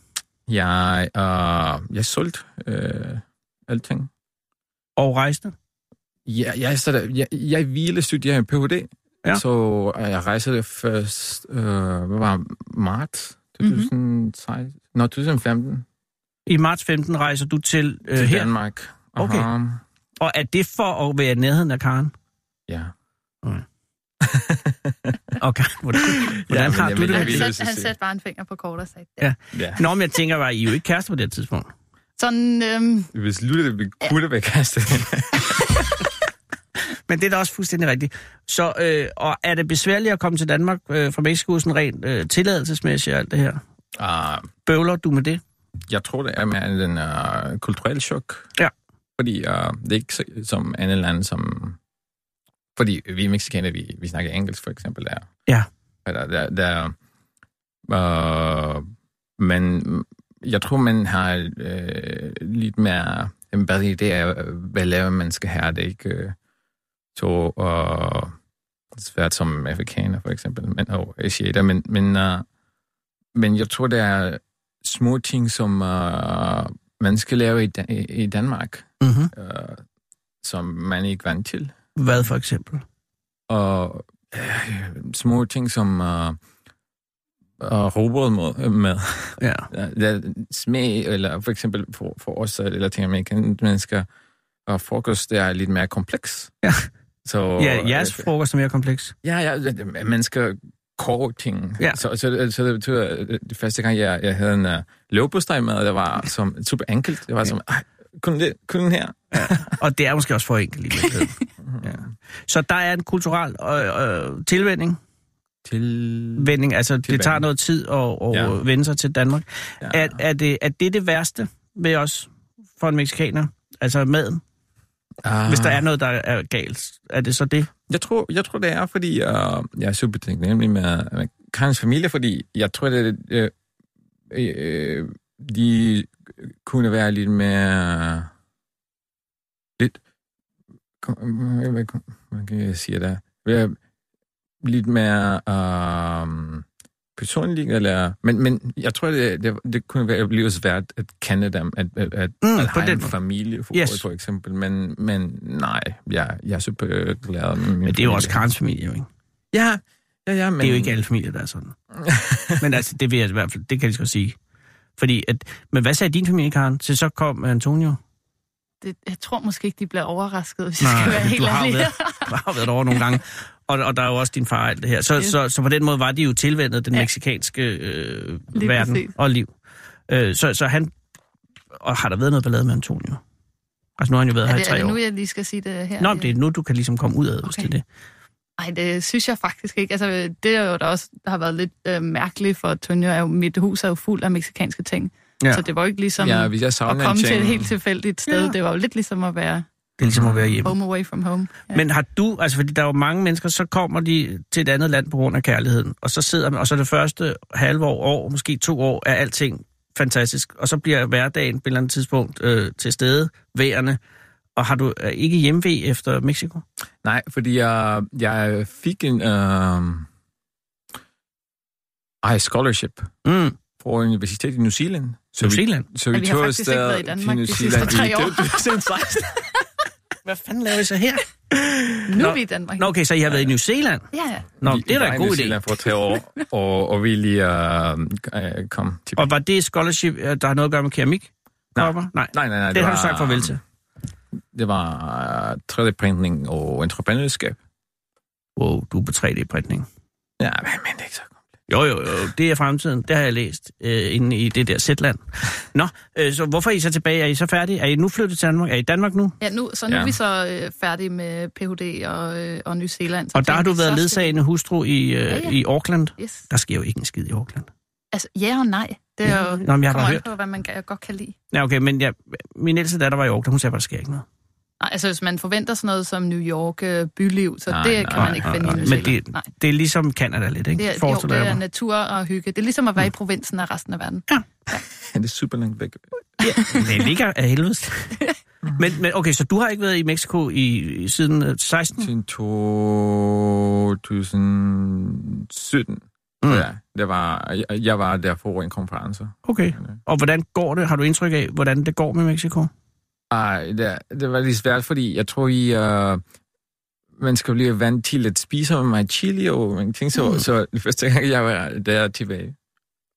Jeg, øh, jeg solgte øh, alting.
Og rejste?
Jeg, jeg, så der, jeg, jeg ville studere en Ph.D.,
Ja.
så øh, jeg rejste det først, øh, hvad var det? marts
Mhm.
2016? Mm-hmm. Nå, 2015
I marts 15 rejser du til, øh,
til
her,
Danmark.
Okay.
Aha.
og er det for at være i nærheden af Karen?
Ja.
Og Karen, hvordan, hvordan
men
har
jeg
du det
mener,
med
Han,
vi-
det?
sat,
lyst til at
han
se.
satte bare en finger på kort og sagde,
Ja.
ja.
ja.
Nå, men jeg tænker bare, I er jo ikke kærester på det tidspunkt.
sådan, øhm,
Hvis Lutte ville kunne være kastet.
Men det er da også fuldstændig rigtigt. Så, øh, og er det besværligt at komme til Danmark øh, fra Mexico, sådan rent øh, tilladelsesmæssigt og alt det her?
uh,
Bøvler du med det?
jeg tror, det er mere en uh, kulturel chok.
Ja.
Fordi uh, det er ikke så, som andet land, som... Fordi vi mexikanere, vi, vi snakker engelsk for eksempel der.
Ja.
Eller der, der uh, men jeg tror, man har uh, lidt mere en bedre idé af, hvad laver man skal have. Det er ikke uh, så uh, svært som afrikaner for eksempel, men, og asiater, men, men, uh, men jeg tror, det er små øh, ting, som uh, man skal lave i, Dan- i i Danmark.
Mm-hmm.
Uh, som man ikke vant til.
Hvad for eksempel?
Og øh, små ting som øh, og robrød med, med.
Ja.
Ja, smag, eller for eksempel for, for os øh, latinamerikanske mennesker, og frokost, det er lidt mere kompleks.
Ja.
Så,
Ja, jeres
øh,
frokost er mere kompleks.
Ja, ja, man skal koge ting.
Ja.
Så, så, så det betyder, at det første gang, jeg, jeg havde en uh, løvbosteg med, det var som super enkelt. Det var som, "Ej, kun, det, kun den her.
Og det er måske også for enkelt i virkeligheden. ja. Så der er en kulturel øh, øh, tilvænding.
Til...
vending. Altså, det
Tilbage.
tager noget tid at, at ja.
Ja.
vende sig til Danmark. Ja.
Ja.
Er, er, det, er det det værste ved os for en mexikaner? Altså maden?
Ah.
Hvis der er noget, der er galt, er det så det?
Jeg tror, jeg tror det er, fordi øh, jeg er super taknemmelig med, med Karens familie, fordi jeg tror, det, øh, øh, de kunne være lidt mere... Lidt... kom- øh, Hvad kom- hvad kan jeg sige der? Være Lidt mere øh, personlig, eller... Men, men jeg tror, det, det, det kunne være blive svært at kende dem, at, at, at,
Mm,
at
på
have
den
en
måde.
familie, for,
Yes.
yes. for eksempel. Men, men nej, jeg, jeg er super glad. Men
Men det er jo også Karens familie, jo, ikke?
Ja, ja, ja. Men...
Det er jo ikke alle familier, der er sådan. Men altså, det vil jeg i hvert fald, det kan jeg lige så godt sige. Fordi at, men hvad sagde din familie, Karen? Så så kom Antonio.
Det, jeg tror måske ikke, de bliver overrasket, hvis jeg
Nej,
skal være
du
helt
har
ærlig.
været- Du har været over nogle gange. Og, og der er jo også din far og alt det her. Så,
Yes.
så, så på den måde var de jo tilvendet den ja.
Ja.
meksikanske øh,
Lige
verden
præcis.
og liv. Øh, så, så han... Og har der været noget ballade med Antonio? Altså nu har han jo været
Er
her i
det, er
tre
det
år.
nu, jeg lige skal sige det her?
Nå, men det er nu, du kan ligesom komme ud af, okay. hvis det
Okay.
er det.
Nej, det synes jeg faktisk ikke. Altså, det er jo der også, der har været lidt øh, mærkeligt for Tonjo, er jo, mit hus er jo fuld af meksikanske ting.
Ja.
Ja. Så det var jo ikke ligesom
ja,
ja,
hvis jeg
at
savner en
komme til
ting-
et helt tilfældigt sted.
Ja.
Ja. Det var jo lidt ligesom at være
Det er ligesom at være hjemme.
home away from home. Ja.
Men har du, altså fordi der er jo mange mennesker, så kommer de til et andet land på grund af kærligheden, og så sidder man, og så det første halve år, år måske to år, er alting fantastisk, og så bliver hverdagen på et eller andet tidspunkt øh, til stede, værende, og har du øh, ikke hjemve efter Mexico? Mm,
Nej, fordi jeg, jeg fik en... Øh... Ej, scholarship
Mm,
fra universitetet i New Zealand. Så
New
vi-
Zealand.
Så
Ja,
vi,
vi har
tog
faktisk ikke
afsted
været i Danmark
til New
de sidste
Zealand i
tre år.
2016.
Hvad fanden laver I så her?
nu
Nå.
er vi i Danmark.
Nå, okay, så I har været i New Zealand?
Ja, ja.
Nå,
Vi-
det er
vi
da
var i
en god
New
idé.
Zealand for tre år, og, og vi lige øh, øh, kom til...
Og var det scholarship, øh, der har noget at gøre med keramik? Nej. Nej, nej,
Nej, nej, nej.
det, det har du sagt
var,
farvel til.
Det var øh, 3D-printing og entreprenørskab.
Wow, du er på 3D-printning.
Ja, men det er ikke så godt.
Jo, jo, jo, det er fremtiden. Det har jeg læst øh, inde i det der Zetland. Nå, øh, så hvorfor er I så tilbage? Er I så færdige? Er I nu flyttet til Danmark? Er I i Danmark nu?
ja nu, så nu
Ja.
er vi så øh, færdige med Ph.D. og, øh, og New Zealand. Så
Og der har
tænkte
du
vi,
været
så skal
ledsagende hustru i, øh, ja,
Ja,
ja.
ja.
i Auckland.
vi- Yes.
Der sker jo ikke en skid i Auckland.
Altså, ja og nej. Det er
Ja.
jo,
Nå, men jeg har
kommer
bare
an
hørt.
på, hvad man g- godt kan lide.
Ja, okay, men ja, min ældste datter var i Auckland. Hun sagde, at der sker ikke noget.
Nej, altså hvis man forventer sådan noget som New York øh, byliv, så
Nej,
nej, det
nej,
kan man ikke
nej,
finde
nej.
i New
Men
Zealand.
det-
nej.
Det er ligesom Canada lidt, ikke?
Det er, jo,
Forestiller
det
jeg
er
mig.
natur og hygge. Det er ligesom at
Mm.
være i provinsen af resten af verden.
Det er super langt væk.
Det ligger af helvede. men, men okay, så du har ikke været i Mexico i, i siden øh, 16?
Siden 2017. Mm. Ja, det var, jeg, jeg var der for en konference.
Okay. Og hvordan går det? Har du indtryk af, hvordan det går med Mexico?
Ej, det, det var lidt svært, fordi jeg tror, I, uh, man skal blive vant til at spise med mig chili og mange ting. Så, mm. så den første gang, jeg var der tilbage.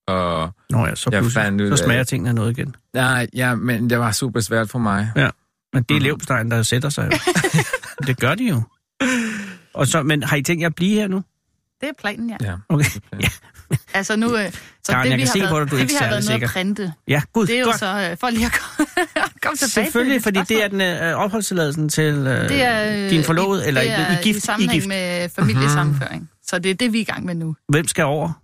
Og,
Nå ja, så,
Jeg
pludselig-
fandt ud
så
af-
smager tingene af noget igen.
nej, ja, men det var super svært for mig.
Men
Mhm.
det er levstein, der sætter sig jo. det gør de jo. Og så, men har I tænkt jer at blive her nu?
Det er planen, ja.
Ja.
Okay.
ja.
Altså nu, øh, så
Karen, jeg
det, vi
kan
har
se på dig,
været,
du er
det,
ikke
vi har
særlig
været nede
sikker.
at printe,
Ja, gud,
det er jo
godt.
så øh, for lige at komme, komme tilbage
Selvfølgelig,
til
fordi det er
spørgsmål.
den øh, opholdstilladelsen til øh,
det er, øh,
din forlovede, eller
det
I, I
er
er gift, I er
sammenhæng
gift. Mhm.
med familiesammenføring. Så det er det, vi er i gang med nu.
Hvem skal over?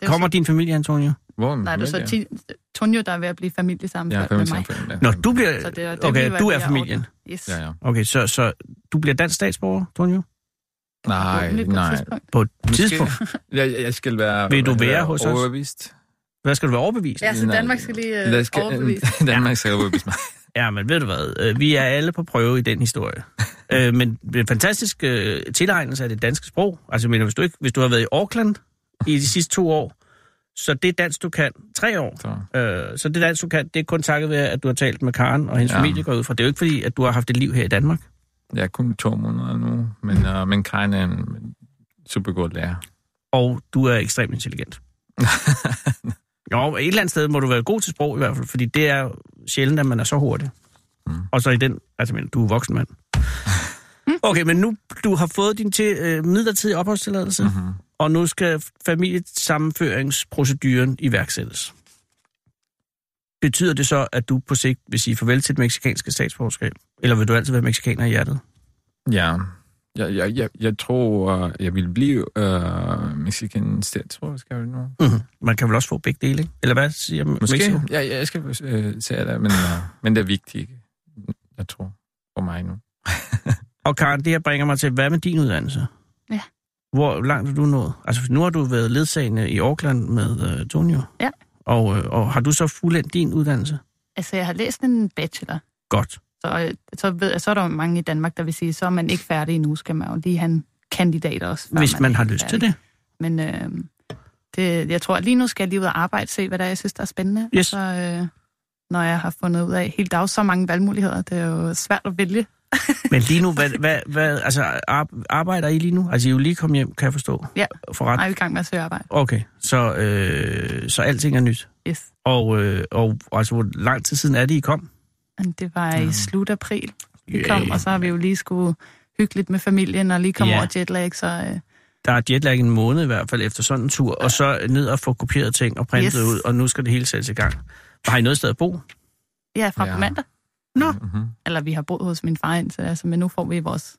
Det er jo
Kommer din familie, Antonio?
Hvor,
Så, nej, det er så
familie?
Ti- Tonjo, der er ved at blive
Ja,
familiesammenført med mig.
familiesammenføring,
Nå,
ja.
du bliver...
Så det er- det vil
okay,
være
du
det,
er
jeg
familien.
Yes.
Ja, ja.
Okay, så, så du bliver dansk statsborger, Antonio?
Nej,
Forhåbentlig på et
nej.
tidspunkt.
På et tidspunkt.
Jeg, jeg skal være...
Vil du være hos os?
Overbevist.
Hvad skal du være overbevist?
Ja, så
Nej.
Danmark skal lige
Der
øh,
skal-
overbevise.
Danmark skal overbevise mig.
Ja, men ved du hvad? øh, Vi er alle på prøve i den historie. Øh, men det er en fantastisk øh, tilegnelse af det danske sprog. Altså, jeg mener, hvis du, ikke, hvis du har været i Auckland i de sidste to år, Så det dans, du kan, tre år,
Så.
øh, så det dans, du kan, det er kun takket ved, at du har talt med Karen og hendes
Ja.
familie går ud fra. Det er jo ikke fordi, at du har haft et liv her i Danmark.
Jeg er kun to måneder nu, men, øh, men Karen er en super god lærer.
og du er ekstremt intelligent. jo, et eller andet sted må du være god til sprog i hvert fald, fordi det er sjældent, at man er så hurtig. Mm. Og så i den, altså men, du er voksen mand. Okay, men nu du har fået din til, øh, midlertidige opholdstilladelse,
Mm. Mhm.
mm-hmm. og nu skal familiesammenføringsproceduren iværksættes. Betyder det så, at du på sigt vil sige farvel til det meksikanske statsborgerskab? Eller vil du altid være meksikaner i hjertet?
Ja. Jeg, jeg, jeg, jeg tror, øh, jeg vil blive øh, mexican statsborgerskab nu.
Mm-hmm. Man kan vel også få begge dele, ikke? Eller hvad siger Mexico?
Måske. Ja, ja, jeg skal øh, se det, men, øh, men det er vigtigt, jeg tror, for mig nu.
Og Karen, det her bringer mig til, hvad med din uddannelse?
Ja.
Hvor langt har du nået? Altså, nu har du været ledsagende i Auckland med uh, Tonio.
Ja.
Og, øh, og har du så fuldendt din uddannelse?
Altså, jeg har læst en bachelor,
Godt.
så, øh, så, ved, jeg- så er der jo mange i Danmark, der vil sige, så er man ikke færdig endnu, skal man jo lige have en kandidat også. før
Hvis man,
er
har
helt
lyst til
færdig.
det.
Men øh, det, jeg tror, at lige nu skal jeg lige ud og arbejde, se hvad der er, jeg synes, der er spændende.
Yes.
Og så, øh, når jeg har fundet ud af, helt dag så mange valgmuligheder, det er jo svært at vælge.
Men lige nu, hvad, hvad, hvad altså, ar- arbejder I lige nu? Altså, I er jo lige kommet hjem, kan jeg forstå.
Ja.
For ret.
Nej, vi er i gang med at søge arbejde.
Okay, så, øh, så alting er nyt.
Yes.
Og, øh, og altså, hvor lang tid siden er det, I kom? Øh,
Men det var i slut april, vi
Ja,
kom, og så har vi jo lige skulle hygge lidt med familien og lige komme
Ja.
over jetlag, så øh,
Der er jetlag en måned i hvert fald efter sådan en tur, og så ned og få kopieret ting og printet
Yes.
ud, og nu skal det hele sættes i gang. Har I noget sted at bo?
ja, fra
Ja.
ja. mandag.
Mm-hmm.
Eller vi har boet hos min far indtil, altså, men nu får vi vores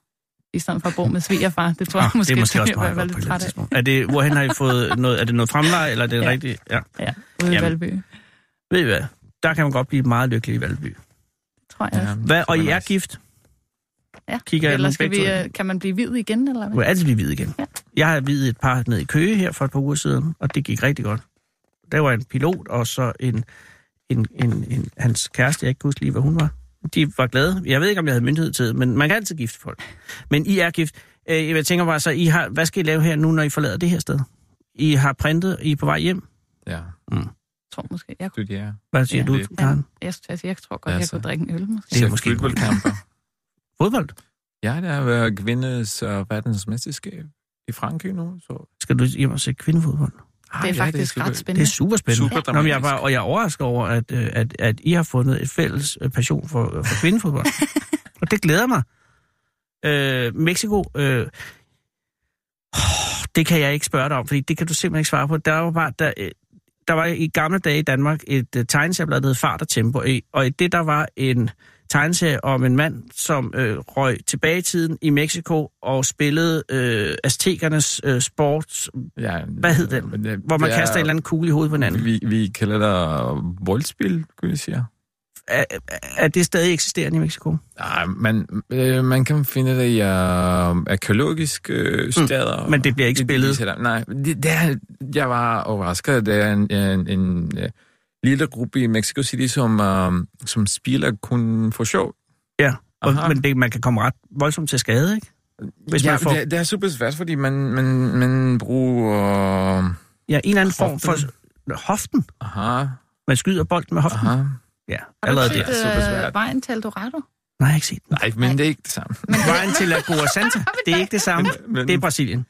i stedet for at bo med svigerfar. Det tror
Nå,
jeg måske,
Ah, det er måske også
jeg
meget
var
godt på et
lidt
eller
træt
andet
af.
tidspunkt. Er det, hvorhen har I fået noget, er det noget fremleje, eller er det ja.
Ja.
rigtigt? Ja.
Ja, ude i
Jamen.
Valby,
Ved I hvad? Der kan man godt blive meget lykkelig i Valby.
tror jeg. Ja.
Hvad, og I er gift?
Ja.
Kigger jeg
Eller
nogle
skal vi,
begge
øh, kan man blive hvid igen, eller
Du
hvad?
kan altid blive hvid igen.
Ja.
Jeg har videt et par ned i Køge her for et par uger siden, og det gik rigtig godt. Der var en pilot, og så en, en, en, en hans kæreste, jeg ikke kan huske lige, hvad hun var. De var glade. Jeg ved ikke, om jeg havde myndighed til det, men man kan altid gifte folk. Men I er gift. Øh, Jeg tænker bare så, I har, hvad skal I lave her nu, når I forlader det her sted? I har printet, I er på vej hjem.
Ja,
Jeg tror måske, jeg, kunne-
studerer.
Hvad siger
Ja,
ja, du,
lidt.
Karen?
jeg, skulle til at sige, jeg tror godt, jeg
Altså.
kunne drikke en øl, måske.
Det er
Ser
måske en god idé.
fodboldkamper.
Fodbold?
Ja, der har været kvindes uh, verdensmesterskab i Frankrig nu. Så...
Skal du hjem og se kvindefodbold?
Ah,
Det er
ja,
faktisk
super-
ret
Det er
spændende.
super spændende.
Super
Nå, men jeg er
dramatisk.
bare, og jeg er overrasket over, at, øh, at, at I har fundet et fælles øh, passion for, øh, for kvindefodbold. og det glæder mig. Øh, Mexico, øh, åh, det kan jeg ikke spørge dig om, fordi det kan du simpelthen ikke svare på. Der var bare, der, øh, der var i gamle dage i Danmark et øh, tegneserieblad, der hed Fart og Tempo, i- og i det der var en tegneserie om en mand, som øh, røg tilbage i tiden i Mexico og spillede øh, aztekernes øh, sport,
Ja,
Hvad hed den?
men det-
hvor man
det
kaster en eller anden kugle i hovedet på hinanden.
Vi, vi kalder det boldspil, kunne jeg sige.
er, er det stadig eksisterende i Mexico?
Nej, man, øh, man kan finde det i øh, arkeologiske øh, steder.
Mm, men det bliver ikke spillet.
viser der- Nej, det, det er, jeg var overrasket. Det er en, en, en øh, lille gruppe i Mexico City, som, øh, som spiller kun for sjov.
Ja, og,
Aha.
men det, man kan komme ret voldsomt til skade, ikke? Hvis
ja,
man får-
det, det er super svært, fordi man, man, man bruger... Øh,
Ja, en eller anden form for
Hoften.
hoften.
aha,
Man skyder bolden med hoften. Aha.
aha.
Ja,
Har du
allerede der.
set
er super svært.
øh, vejen til Eldorado?
Nej, jeg har ikke set den.
Nej, men det er ikke det samme.
Vejen til Lagoa Santa, det er ikke det samme.
Men,
Det er Brasilien.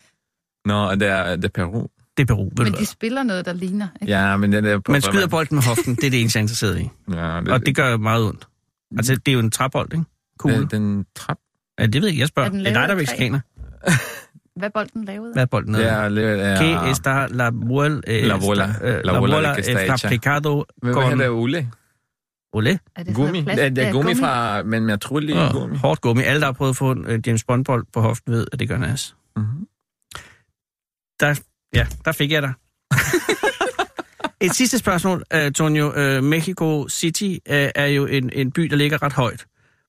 Nå, det er, det er Peru.
Det er Peru, ved
Men
du
de spiller noget, der ligner. Ikke?
Ja, men den er...
hvad. Man skyder bolden med hoften, det er det eneste, jeg er interesseret i.
Ja,
Og det gør meget ondt. Altså, det er jo en træbold, ikke? Kugle.
Den, den trap,
Ja, det ved jeg ikke, jeg spørger.
Er den
Det er dig, der er
lavet af træ?
mexikaner.
Hvad bolden lavede?
Hvad er bolden nede?
det er... lidt- er
Que está la muel... eh,
La bola.
sta- eh,
La
La
bola
bola
que está
está
hecha.
picado
Hvad hvad
con...
hedder Ole?
Ole?
Er det sådan
Gummi.
noget plast- Øh,
Det, det er
Ja,
gummi fra, men med trullig
Ja,
gummi.
Hårdt gummi. Alle, der har prøvet at få en øh, James Bond-bold på hoften, ved, at det gør nas.
Mhm.
Der, ja, der fik jeg dig. Et sidste spørgsmål, øh, Tonio. Øh, Mexico City øh, er jo en, en by, der ligger ret højt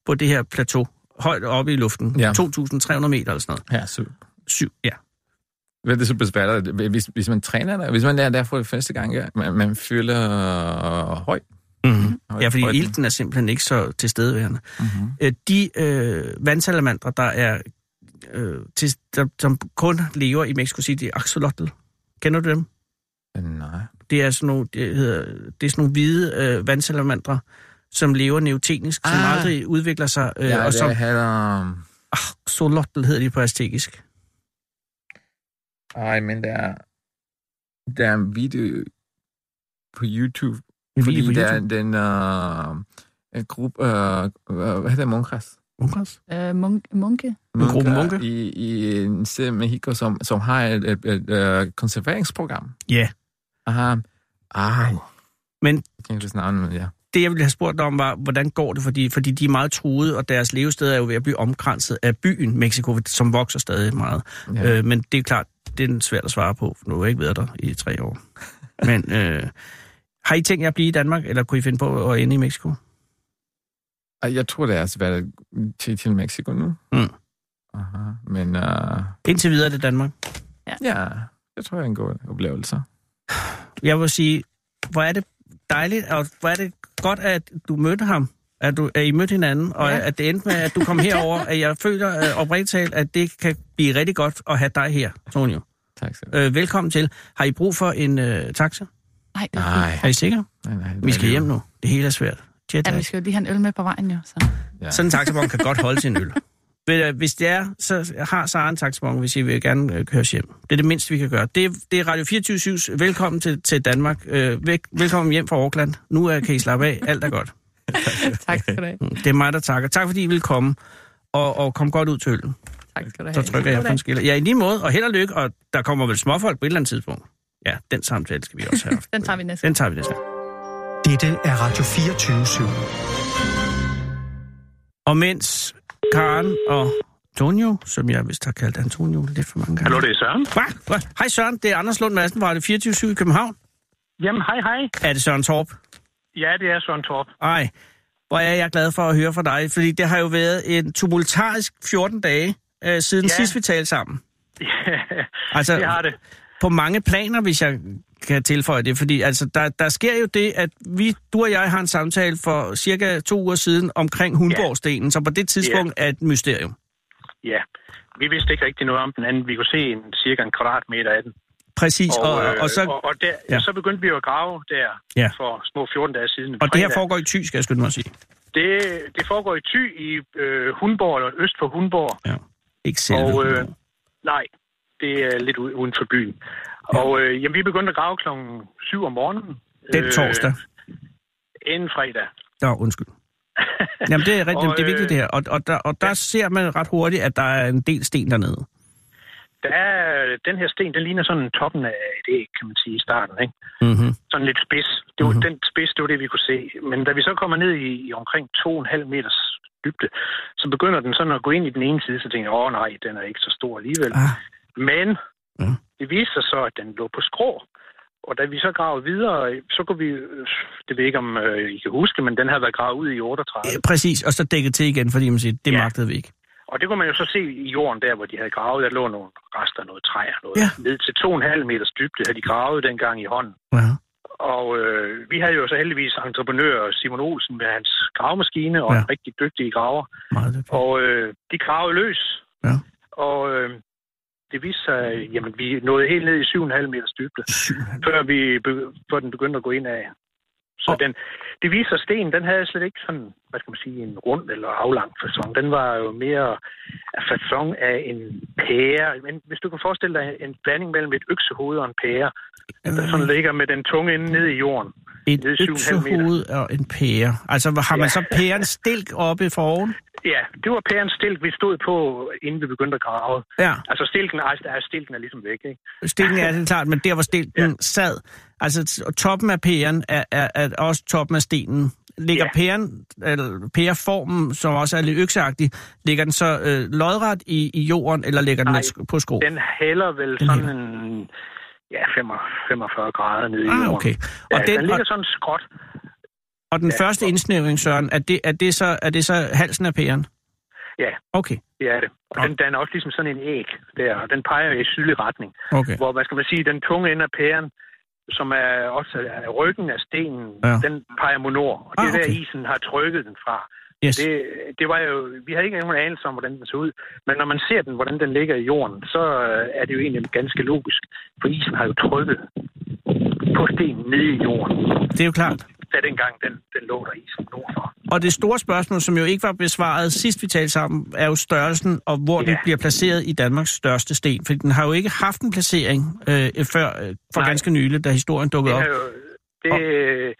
på det her plateau. Højt oppe i luften. Ja.
Ja.
2.300 meter eller sådan noget.
Ja, så.
Syv, ja.
Hvad er det super svært? Hvis, hvis man træner der, hvis man er der for det første gang, ja, man, man føler øh, høj.
Mm-hmm.
høj
Ja, fordi
højden.
ilten er simpelthen ikke så tilstedeværende.
Mhm.
Øh, de øh, vandsalamandre, der er øh, til, der, som kun lever i Mexico City, axolotl. Kender du dem?
Øh, Nej.
det er sådan nogle, det hedder, det er sådan nogle hvide øh, vandsalamandre, som lever neotenisk, ah. som
Ah.
aldrig udvikler sig, øh,
Ja,
og som...
det hedder...
Ah, solotl hedder de på aztekisk.
Ej, men der er, der er en video på YouTube,
En
fordi
video på
der er
YouTube.
den øh, en gruppe, øh, øh, hvad hedder munkras?
Ungras?
Øh, munke, munke.
En gruppe munke?
I, i en sted i Mexico, som, som har et, et, et, et konserveringsprogram.
Ja.
Aha. Ej,
Men
jeg kan ikke huske navnet, men ja.
det, jeg ville have spurgt dig om, var, hvordan går det? Fordi, fordi de er meget truede, og deres levesteder er jo ved at blive omkranset af byen Mexico, som vokser stadig meget.
ja.
Ja. Øh, men det er klart, det er svært at svare på, for nu har jeg ikke været der i tre år. Men øh, har I tænkt jer at blive i Danmark, eller kunne I finde på at ende i Mexico?
Ej, Jeg tror, det er svært til, til Mexico nu.
Mm.
Aha. Men øh,
Indtil videre er det Danmark.
ja, jeg tror, det er en god oplevelse.
Jeg vil sige, hvor er det dejligt, og hvor er det godt, at du mødte ham, at, du, at I mødte hinanden, og ja.
Ja.
at det endte med, at du kom herover, at jeg føler øh, oprigtigt talt, at det kan blive rigtig godt at have dig her, Tonio.
Tak skal du
Øh, velkommen til. Har I brug for en øh, taxa?
Nej, det er
have.
fint.
Nej,
Er I sikre?
nej, nej.
Vi skal hjem nu. Det hele er svært. Jet
Ja,
lag.
vi skal jo lige have en øl med på vejen, jo. Så.
Ja.
Sådan en taxavogn kan godt holde sin øl. Men, øh, Hvis det er, så har Sara en taxavogn, hvis I vil gerne øh, køres hjem. Det er det mindste, vi kan gøre. Det er, det er Radio 24 velkommen til, til Danmark. Øh, væk, velkommen hjem fra Auckland. Nu øh, kan I slappe af. Alt er godt. Mm.
Tak skal du have.
Det er mig, der takker. Tak fordi I vil komme. Og, og kom godt ud til øllen.
Tak skal du have.
Så trykker jeg på en skiller. Ja, i lige måde. Og held og lykke. Og der kommer vel småfolk på et eller andet tidspunkt. Ja, den samtale skal vi også have. haft.
Den tager vi næste
Den tager vi næste gang.
Dette er Radio 24 /7.
Og mens Karen og Antonio, som jeg vist har kaldt Antonio lidt for mange gange.
Hallo, det er Søren.
Hva? Hva? Hej Søren, det er Anders Lund Madsen fra det 24 i København.
Jamen, hej, hej.
Er det Søren Torp?
Ja, det er Søren Torp.
Ej, hvor er jeg glad for at høre fra dig, fordi det har jo været en tumultarisk 14 dage øh, siden ja.
Ja.
sidst vi talte sammen.
Ja,
Altså,
det har det.
på mange planer, hvis jeg kan tilføje det, fordi altså, der, der sker jo det, at vi, du og jeg har en samtale for cirka to uger siden omkring Hundborgstenen, som på det tidspunkt er et mysterium.
Ja. Vi vidste ikke rigtig noget om den anden. Vi kunne se en, cirka en kvadratmeter af den.
Præcis, og, og,
øh,
og, så,
og, og der,
Ja.
ja. så begyndte vi jo at grave der
Ja.
ja. for små 14 dage siden.
og det her
Fredag.
foregår i Thy, skal jeg skynde mig at sige.
det, det foregår i Thy i øh, Hundborg, eller øst for Hundborg.
Ja. Ikke selv.
Og, øh, nej, det er lidt u- uden for byen. Og øh, jamen, vi begyndte at grave klokken 7 om morgenen.
den
øh,
torsdag.
Inden fredag.
Nå, undskyld. Jamen, det er rigtigt.
Og,
det er vigtigt, det her. Og, og der, og der ja. ser man ret hurtigt, at der er en del sten dernede.
Der er, den her sten, den ligner sådan toppen af et æg, kan man sige, i starten. Ikke?
Mm-hmm.
Sådan lidt spids. Det
Mhm.
var, mm-hmm. Den spids, det var det, vi kunne se. Men da vi så kommer ned i, i omkring 2,5 meters dybde, så begynder den sådan at gå ind i den ene side, så tænker jeg, åh nej, den er ikke så stor alligevel.
Ah,
Men
Ja.
det viste sig så, at den lå på skrå. Og da vi så gravede videre, så kunne vi, det ved jeg ikke om øh, I kan huske, men den havde været gravet ud i 38.
øh, præcis, og så dækket til igen, fordi man siger, det ja.
Ja.
magtede vi ikke.
Og det kunne man jo så se i jorden der, hvor de havde gravet, der lå nogle rester af noget træ og noget.
Ja.
Ja. Ned til 2,5 meters dybde havde de gravet dengang i hånden.
Ja.
Og øh, vi havde jo så heldigvis entreprenør Simon Olsen med hans gravemaskine og
Ja.
ja. en rigtig dygtig graver.
Meget lidt.
Og øh, de gravede løs.
Ja.
Og øh, det viste sig, jamen vi nåede helt ned i 7,5 meters dybde, før, vi be- før den begyndte at gå ind af. Så
Og-
den, det viser sig, at stenen, den havde slet ikke sådan, hvad skal man sige, en rund eller aflang fasong. Den var jo mere fasong af en pære. Men hvis du kan forestille dig en blanding mellem et øksehoved og en pære, der sådan ligger med den tunge inde ned i jorden.
Et
det er 7,5 meter.
øksehoved og en pære. Altså, hvor har man
Ja.
så pæren stilk oppe foroven?
Ja, det var pærens stilk, vi stod på, inden vi begyndte at grave.
Ja,
Altså stilken, ej, der er, stilken er ligesom væk, ikke?
stilken er det klart, men der, hvor stilken ja. sad, altså t- og toppen af pæren er, er, er også toppen af stenen. Ligger ja.
Ja.
pæren, eller pæreformen, som også er lidt økseagtig, ligger den så øh, lodret i, i jorden, eller ligger den
Nej,
lidt sk- på skrå?
Den hælder vel
Den
den sådan en, ja, 45 grader ned i jorden.
Ah, okay.
Ja,
Og,
og den, den
den,
ligger
og,
sådan skråt.
og den
ja,
første
og-
indsnævring, Søren, er det, er, det så, er det så halsen af pæren?
Ja.
Okay,
Det er det. Og den danner også ligesom sådan en æg der, og den peger i sydlig retning.
okay.
Hvor, hvad skal man sige, den tunge ende af pæren, som er også er ryggen af stenen,
Ja.
ja. den peger mod nord. Og det
Ah,
ah, okay. er
okay.
der, isen har trykket den fra.
Yes.
Det, det var jo, vi havde ikke nogen anelse om, hvordan den så ud. Men når man ser den, hvordan den ligger i jorden, så øh, er det jo egentlig ganske logisk. For isen har jo trykket på sten nede i jorden,
Det er jo klart.
da dengang den, den lå der isen nordfor.
Og det store spørgsmål, som jo ikke var besvaret sidst vi talte sammen, er jo størrelsen og hvor ja. den
Ja.
bliver placeret i Danmarks største sten. Fordi den har jo ikke haft en placering øh, før øh, for Nej.
Nej.
ganske nylig, da historien dukkede op.
Det, er jo- det,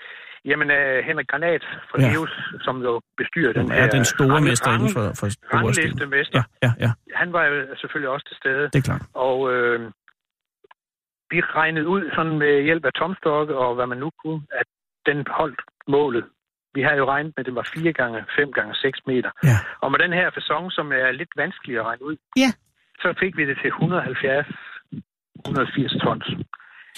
jamen, øh, Henrik Granat fra
Ja.
ja. Leos, som jo bestyrer den
Den
her...
er den store
rang-
mester inden for,
rang-
for store sten.
Ranglister-mester.
Ja, ja, ja,
Han var jo selvfølgelig også til stede.
det er klart.
Og øh, vi regnede ud sådan med hjælp af tomstokke og hvad man nu kunne, at den holdt målet. Vi havde jo regnet med, at det var 4 gange 5 gange 6 meter.
Ja.
Og med den her fasong, som er lidt vanskelig at regne ud,
Ja.
så fik vi det til 170 180 tons.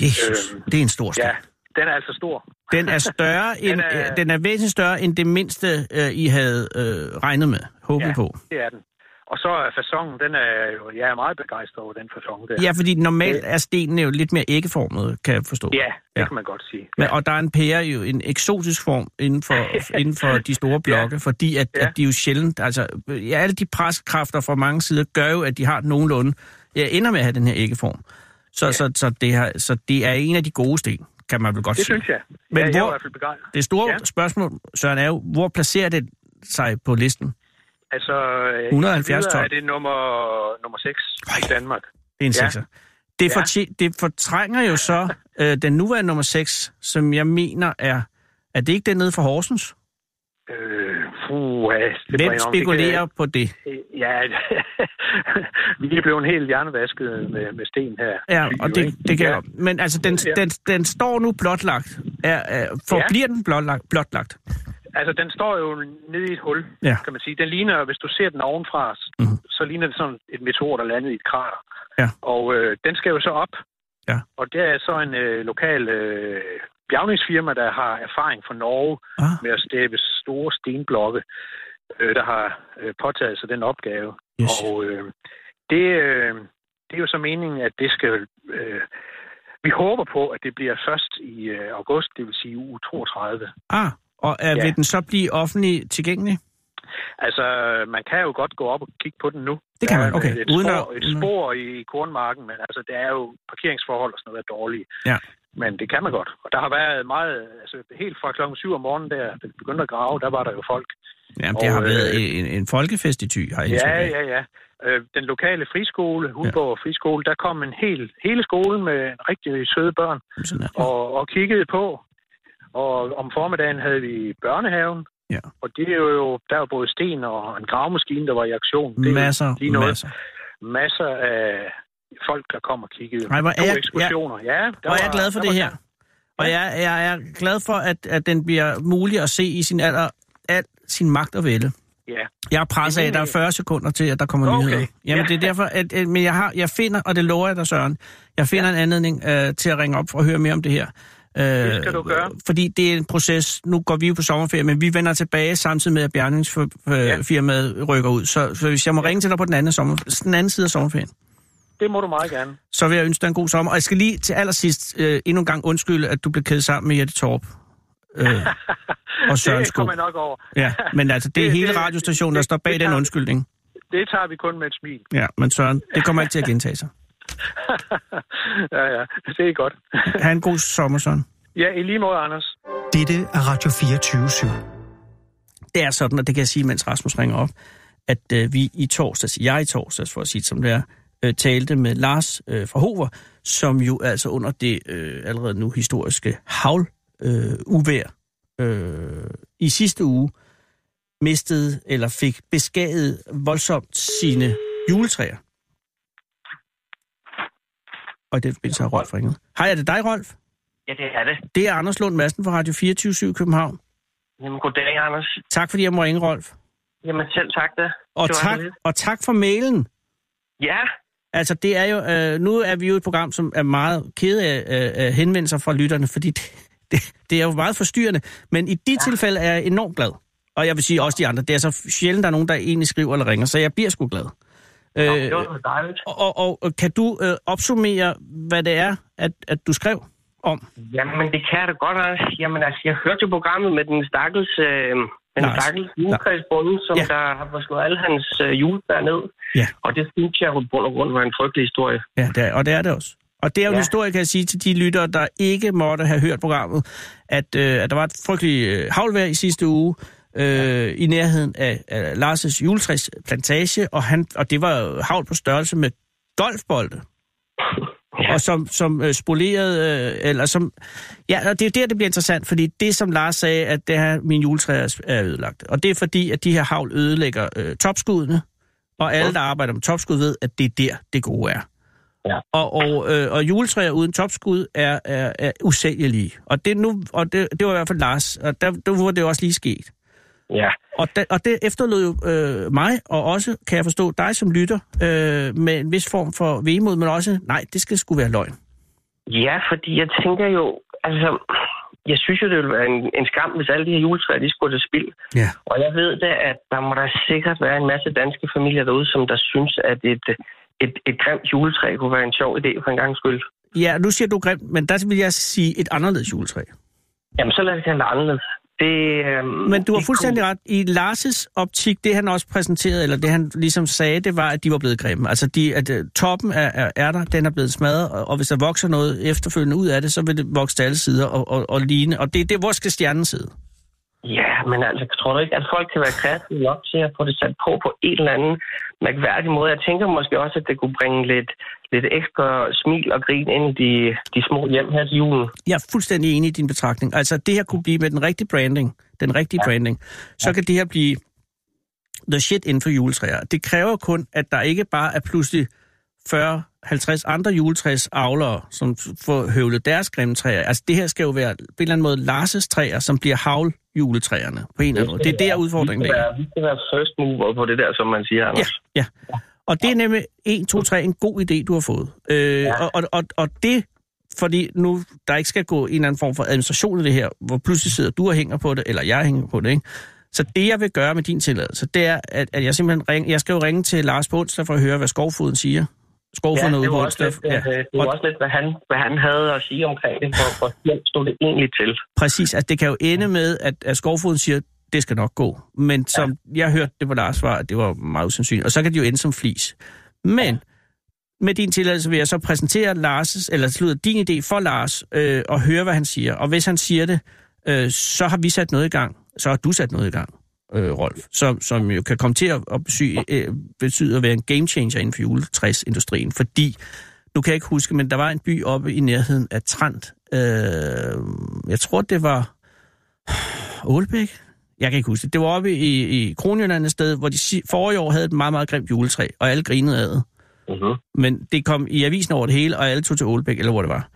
Jesus,
Øhm,
det er en stor sten.
Ja, den er altså stor.
Den er større end, den,
Den
er...
er-
Øh, den er væsentligt større end det mindste, øh, I havde øh, regnet med, håbet
Ja.
på.
Det er den. Og så er fasongen, den er jo, jeg er meget begejstret over den fasong der.
Ja, fordi normalt er stenene jo lidt mere æggeformet, kan jeg forstå.
ja det
Ja.
ja. kan man godt sige.
Men, og der er en pære jo en eksotisk form inden for, inden for de store blokke, ja. fordi at, ja.
Ja.
at de jo sjældent, altså ja, alle de preskræfter fra mange sider gør jo, at de har nogenlunde, ja, ender med at have den her æggeform. Så, ja. så, så, det har, så det er en af de gode sten, kan man vel godt
Det
sige.
synes jeg.
Men
ja,
hvor-
jeg er i hvert fald begejstret.
Det store ja.
Ja.
spørgsmål, Søren, er jo, hvor placerer det sig på listen? Det
Altså,
170
videre
ton.
er det nummer, nummer 6 i Danmark.
er en
Ja.
sekser. Det,
Ja.
fortje- det fortrænger jo så øh, den nuværende nummer 6, som jeg mener er, er det ikke den nede fra Horsens?
Øh, puh, ja, det bringer
Hvem
om.
spekulerer på det?
Det kan, ja, vi er blevet helt hjernevasket med, med sten her.
Ja,
Fy,
og
jo,
det,
ikke?
det kan
Ja.
ja. Men altså, den,
Ja.
den, den står nu blotlagt. Er, er, forbliver ja. den blotlagt, blotlagt?
Altså, den står jo nede i et hul,
Ja. Mhm.
ja. kan man sige. Den ligner, hvis du ser den ovenfra, mm-hmm. så ligner det sådan et meteor, der landede i et krater.
Ja.
Og øh, den skal jo så op.
Ja.
Og der er så en øh, lokal øh, bjergningsfirma, der har erfaring fra Norge
Ah.
med at stæbe store stenblokke, øh, der har øh, påtaget sig den opgave.
Yes.
Og øh, det, øh, det er jo så meningen, at det skal... Øh, vi håber på, at det bliver først i øh, august, det vil sige uge 32.
Ah, og er, ja.
Ja.
vil den så blive offentlig tilgængelig?
Altså, man kan jo godt gå op og kigge på den nu.
Det kan
Der er
man, okay.
Et
Uden
spor,
at-
et spor i kornmarken, men altså, der er jo parkeringsforhold og sådan noget, der er dårlige.
Ja.
Men det kan man godt. Og der har været meget, altså helt fra klokken 7 om morgenen, der da vi begyndte at grave, der var der jo folk.
Jamen, det
Og,
har
øh,
været en, en folkefest i Thy, har jeg indtryk
Ja,
af.
ja, ja. Øh, Den lokale friskole, Hulborg Friskole, der kom en hel, hele skolen med rigtig søde børn
Sådan er det.
og, og kiggede på. Og om formiddagen havde vi børnehaven.
Ja.
Og det er jo, der var både sten og en gravemaskine, der var i aktion. Det er jo lige
Masser,
noget.
masser.
masser af folk, der kom og kiggede.
Ej, hvor er
to
jeg-
ekskursioner. Ja, ja der
Og jeg er glad for
der
det
var-
her. Og jeg, jeg er glad for, at, at den bliver mulig at se i sin alder, al sin magt og vælde.
Ja.
Jeg er presset af, at der er 40 sekunder til, at der kommer okay.
øh, Okay.
nyheder. Jamen,
Ja.
det er derfor, at, at men jeg, har, jeg finder, og det lover jeg dig, Søren, jeg finder ja. en anledning øh, til at ringe op for at høre mere om det her. Øh, det
skal du gøre.
Fordi det er en proces. Nu går vi jo på sommerferie, men vi vender tilbage samtidig med, at bjergningsfirmaet rykker ud. Så, så hvis jeg må ringe til dig på den anden, sommer, den anden side af sommerferien,
Det må du meget gerne.
så vil jeg ønske dig en god sommer. Og jeg skal lige til allersidst øh, endnu en gang undskylde, at du blev kædet sammen med Jette Torp. Øh, og Søren
det
Skov.
kommer jeg nok over.
Ja, men altså, det er
Det-
hele
det-
radiostationen, der
det-
står bag
det
den
tager-
undskyldning.
Det tager vi kun med et smil.
Ja, men Søren, det kommer ikke til at gentage sig.
ja, ja. Det er godt.
Ha' en god sommer, Søren.
Ja, i lige måde, Anders.
Dette er Radio 24 /7.
Det er sådan, og det kan jeg sige, mens Rasmus ringer op, at øh, vi i torsdags, jeg i torsdags, for at sige det som det er, øh, talte med Lars øh, fra Hover, som jo altså under det øh, allerede nu historiske havl øh, uvær øh, i sidste uge mistede eller fik beskadiget voldsomt sine juletræer. Og i den forbindelse har Rolf ringet. Hej, er det dig, Rolf?
Ja, det er det.
Det er Anders Lund Madsen fra Radio 24 København.
Jamen, goddag, Anders.
Tak fordi jeg må ringe, Rolf.
Jamen, selv tak da.
Og
Det var
tak,
så lidt.
og tak for mailen.
Ja,
Altså, det er jo, øh, nu er vi jo et program, som er meget ked af øh, af henvendelser fra lytterne, fordi det, det, det er jo meget forstyrrende. Men i de ja. tilfælde er jeg enormt glad. Og jeg vil sige også de andre. Det er så sjældent, der er nogen, der egentlig skriver eller ringer, så jeg bliver sgu glad.
Nå,
Øh,
det var da dejligt.
og, og, og kan du øh, opsummere, hvad det er, at, at du skrev om?
Jamen, det kan jeg da godt, Anders. Jamen, altså, jeg hørte jo programmet med den stakkels... Øh, den
Lars.
stakkels julekredsbunde, som
Ja.
ja. der har fået slået alle hans øh, julebær ned.
Ja.
Og det synes jeg jo i bund og grund var en frygtelig historie.
Ja, det er, og det er det også. Og det er jo ja.
Ja.
en historie, kan jeg sige til de lyttere, der ikke måtte have hørt programmet, at, øh, at der var et frygteligt øh, havlvejr i sidste uge øh, i nærheden af, af Lars' juletræs plantage, og, han, og det var jo havl på størrelse med golfbolde. Ja. Og som, som øh, spolerede, øh, eller som... Ja, og det er jo der, det bliver interessant, fordi det, som Lars sagde, at det her, min juletræ er- er ødelagt. Og det er fordi, at de her havl ødelægger øh, topskuddene, og alle, der arbejder med topskud, ved, at det er der, det gode er. Og, og, øh, og juletræer uden topskud er, er, er usælgelige. Og, det, nu, og det, det var i hvert fald Lars, og der, der var det også lige sket.
Ja,
Og, da, og det efterlod jo øh, mig, og også, kan jeg forstå, dig som lytter, øh, med en vis form for vemod, men også, nej, det skal sgu være løgn.
ja fordi jeg tænker jo, altså, jeg synes jo, det ville være en, en skam, hvis alle de her juletræer, de skulle til spil.
Ja.
Og jeg ved da, at der må der sikkert være en masse danske familier derude, som der synes, at et, et, et grimt juletræ kunne være en sjov idé for en gang skyld.
Ja, nu siger du grimt, men der vil jeg sige et anderledes juletræ.
Jamen, så lad os kalde det anderledes. Det, øhm,
Men du har
det
fuldstændig ret. I Lars' optik, det han også præsenterede, eller det han ligesom sagde, det var, at de var blevet grimme. Altså, de, at øh, toppen af, af ærter, den er blevet smadret, og, og hvis der vokser noget efterfølgende ud af det, så vil det vokse til alle sider og, og, og ligne. Og det, det hvor skal stjernen sidde?
Kunne, ja, men altså, tror du ikke, at folk kan være kreative nok til at få det sat på på en eller anden mærkværdig måde? Jeg tænker måske også, at det kunne bringe lidt, lidt ekstra smil og grin ind i de, de små hjem her til julen.
Jeg er fuldstændig enig i din betragtning. Altså, det her kunne blive med den rigtige branding, den rigtige ja. branding, så ja. kan det her blive the shit inden for juletræer. Det kræver kun, at der ikke bare er pludselig 40-50 andre juletræsavlere, som får høvlet deres grimme træer. Altså, det her skal jo være på en eller anden måde Lars' træer, som bliver havl juletræerne på en eller anden måde. Det er der udfordringen
Vi
ligger.
skal, være, vi skal være first mover på det der, som man siger,
Ja,
Anders.
ja. Og det er nemlig 1, 2, 3, en god idé, du har fået. Øh, ja. og, og, og, og det, fordi nu der ikke skal gå en eller anden form for administration i det her, hvor pludselig sidder du og hænger på det, eller jeg hænger på det, ikke? Så det, jeg vil gøre med din tilladelse, det er, at, at jeg simpelthen ring, jeg skal jo ringe til Lars på onsdag for at høre, hvad skovfoden siger. Skovfoden ja, er ude
det
på
var også
onsdag.
lidt, ja. det var
Og
også lidt hvad, han, hvad han havde at sige omkring det, hvor, hvor slemt stod det egentlig til.
præcis, altså det kan jo ende med, at, at skovfoden siger, det skal nok gå. Men som jeg hørte det på Lars var, at det var meget usandsynligt. Og så kan de jo ende som flis. Men med din tilladelse vil jeg så præsentere Lars, eller slutter din idé for Lars, øh, og høre, hvad han siger. Og hvis han siger det, øh, så har vi sat noget i gang. Så har du sat noget i gang, øh, Rolf, som, som jo kan komme til at, at besyge, øh, betyde at være en game changer inden for juletræsindustrien, fordi, nu kan jeg ikke huske, men der var en by oppe i nærheden af Trant. Øh, jeg tror, det var Ålbæk. Jeg kan ikke huske det. Det var oppe i, i Kronjylland et sted, hvor de si- forrige år havde et meget, meget grimt juletræ, og alle grinede af det
Mm-hmm.
men det kom i avisen over det hele, og alle tog til Ålbæk, eller hvor det var.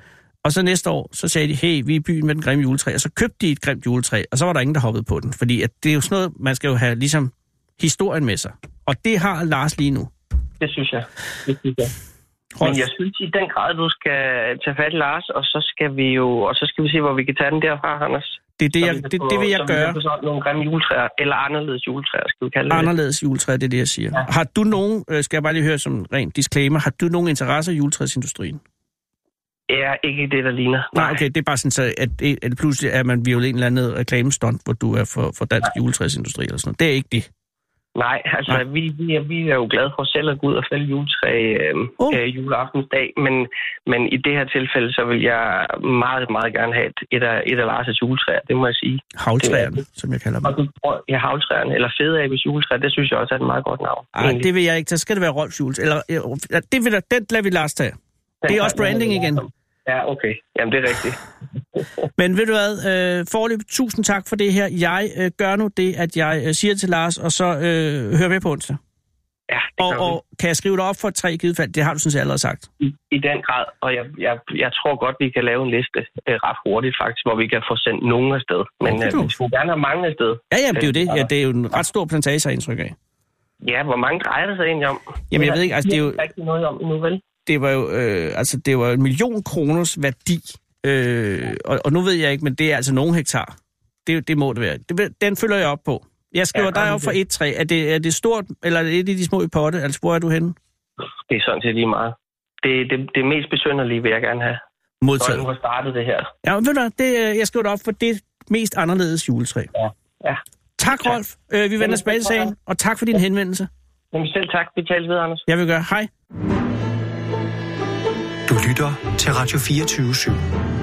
Og så næste år, så sagde de, hey, vi er i byen med den grimme juletræ, og så købte de et grimt juletræ, og så var der ingen, der hoppede på den. Fordi at det er jo sådan noget, man skal jo have ligesom historien med sig. Og det har Lars lige nu.
Det synes jeg. Det synes jeg. Men
Rolf,
jeg synes i den grad, du skal tage fat i Lars, og så skal vi jo og så skal vi se, hvor vi kan tage den derfra, Anders.
det, er det,
Så
jeg,
vi kan
det,
få-
det vil jeg
så vi
gøre.
kan få solgt nogle grimme juletræer, eller anderledes juletræer, skal vi kalde det.
Anderledes juletræ, det er det, jeg siger. Har du nogen, øh, skal jeg bare lige høre som en ren disclaimer, har du nogen interesse i juletræsindustrien?
Ja, ikke det, der ligner.
Nej, okay, det er bare sådan, så at, det, at pludselig er man violet en eller anden reklamestunt, hvor du er for, for dansk juletræsindustri eller sådan noget. Det er ikke det.
Nej, altså
Nej.
Vi, vi, er, vi er jo glade for selv at gå ud og fælde juletræ øh,
Oh.
oh. øh, juleaftensdag, men, men i det her tilfælde, så vil jeg meget, meget gerne have et, et, af, et af Lars' juletræer, det må jeg sige.
Havltræerne, som jeg kalder dem.
Og så tror jeg, ja, havltræerne, eller fedeabes juletræ, det synes jeg også er et meget godt navn.
Ej,
egentlig.
det vil jeg ikke. Så skal det være Rolf Jules. Eller, øh, det vil, den lader vi Lars tage. det er også branding igen.
Ja, okay. Jamen, det er rigtigt.
Men ved du hvad, øh, forløb, tusind tak for det her. Jeg øh, gør nu det, at jeg øh, siger til Lars, og så øh, hører med på onsdag.
Ja, det
Og,
gør vi.
og kan jeg skrive dig op for et tre i givet fald? Det har du sådan set allerede sagt.
I, I den grad, og jeg, jeg, jeg tror godt, vi kan lave en liste øh, ret hurtigt faktisk, hvor vi kan få sendt nogen afsted. Men
Okay,
øh,
du.
vi skulle gerne have mange afsted.
Ja, jamen, det er jo
Øh,
det. Ja, det er jo en ret stor plantage, har jeg indtryk af.
Ja, hvor mange drejer det sig egentlig om?
Jamen, jeg ved ikke, altså, det er jo-
ikke rigtig noget om endnu, vel?
det var jo øh, altså, det var en million kroners værdi. Øh, og, og nu ved jeg ikke, men det er altså nogle hektar. Det, det må det være. Det, den følger jeg op på. Jeg skriver
Ja,
ja,
kom
dig op
med
for
det.
et træ. Er det, er det stort, eller er det et af de små i potte? Altså, hvor er du henne?
Det er sådan set lige meget. Det, det, det mest besynderlige vil jeg gerne have. Når jeg nu
Modtaget.
har startet det her.
Ja, men ved du, hvad, det, øh, jeg skriver dig op for det mest anderledes juletræ.
Ja, ja.
Tak,
Ja.
Rolf. Øh, vi vender
Jamen,
tilbage til
det var-
sagen, og tak for din henvendelse.
Jamen selv tak. Vi taler videre, Anders.
Jeg vil gøre hej.
Du Du lytter til Radio 24 /7.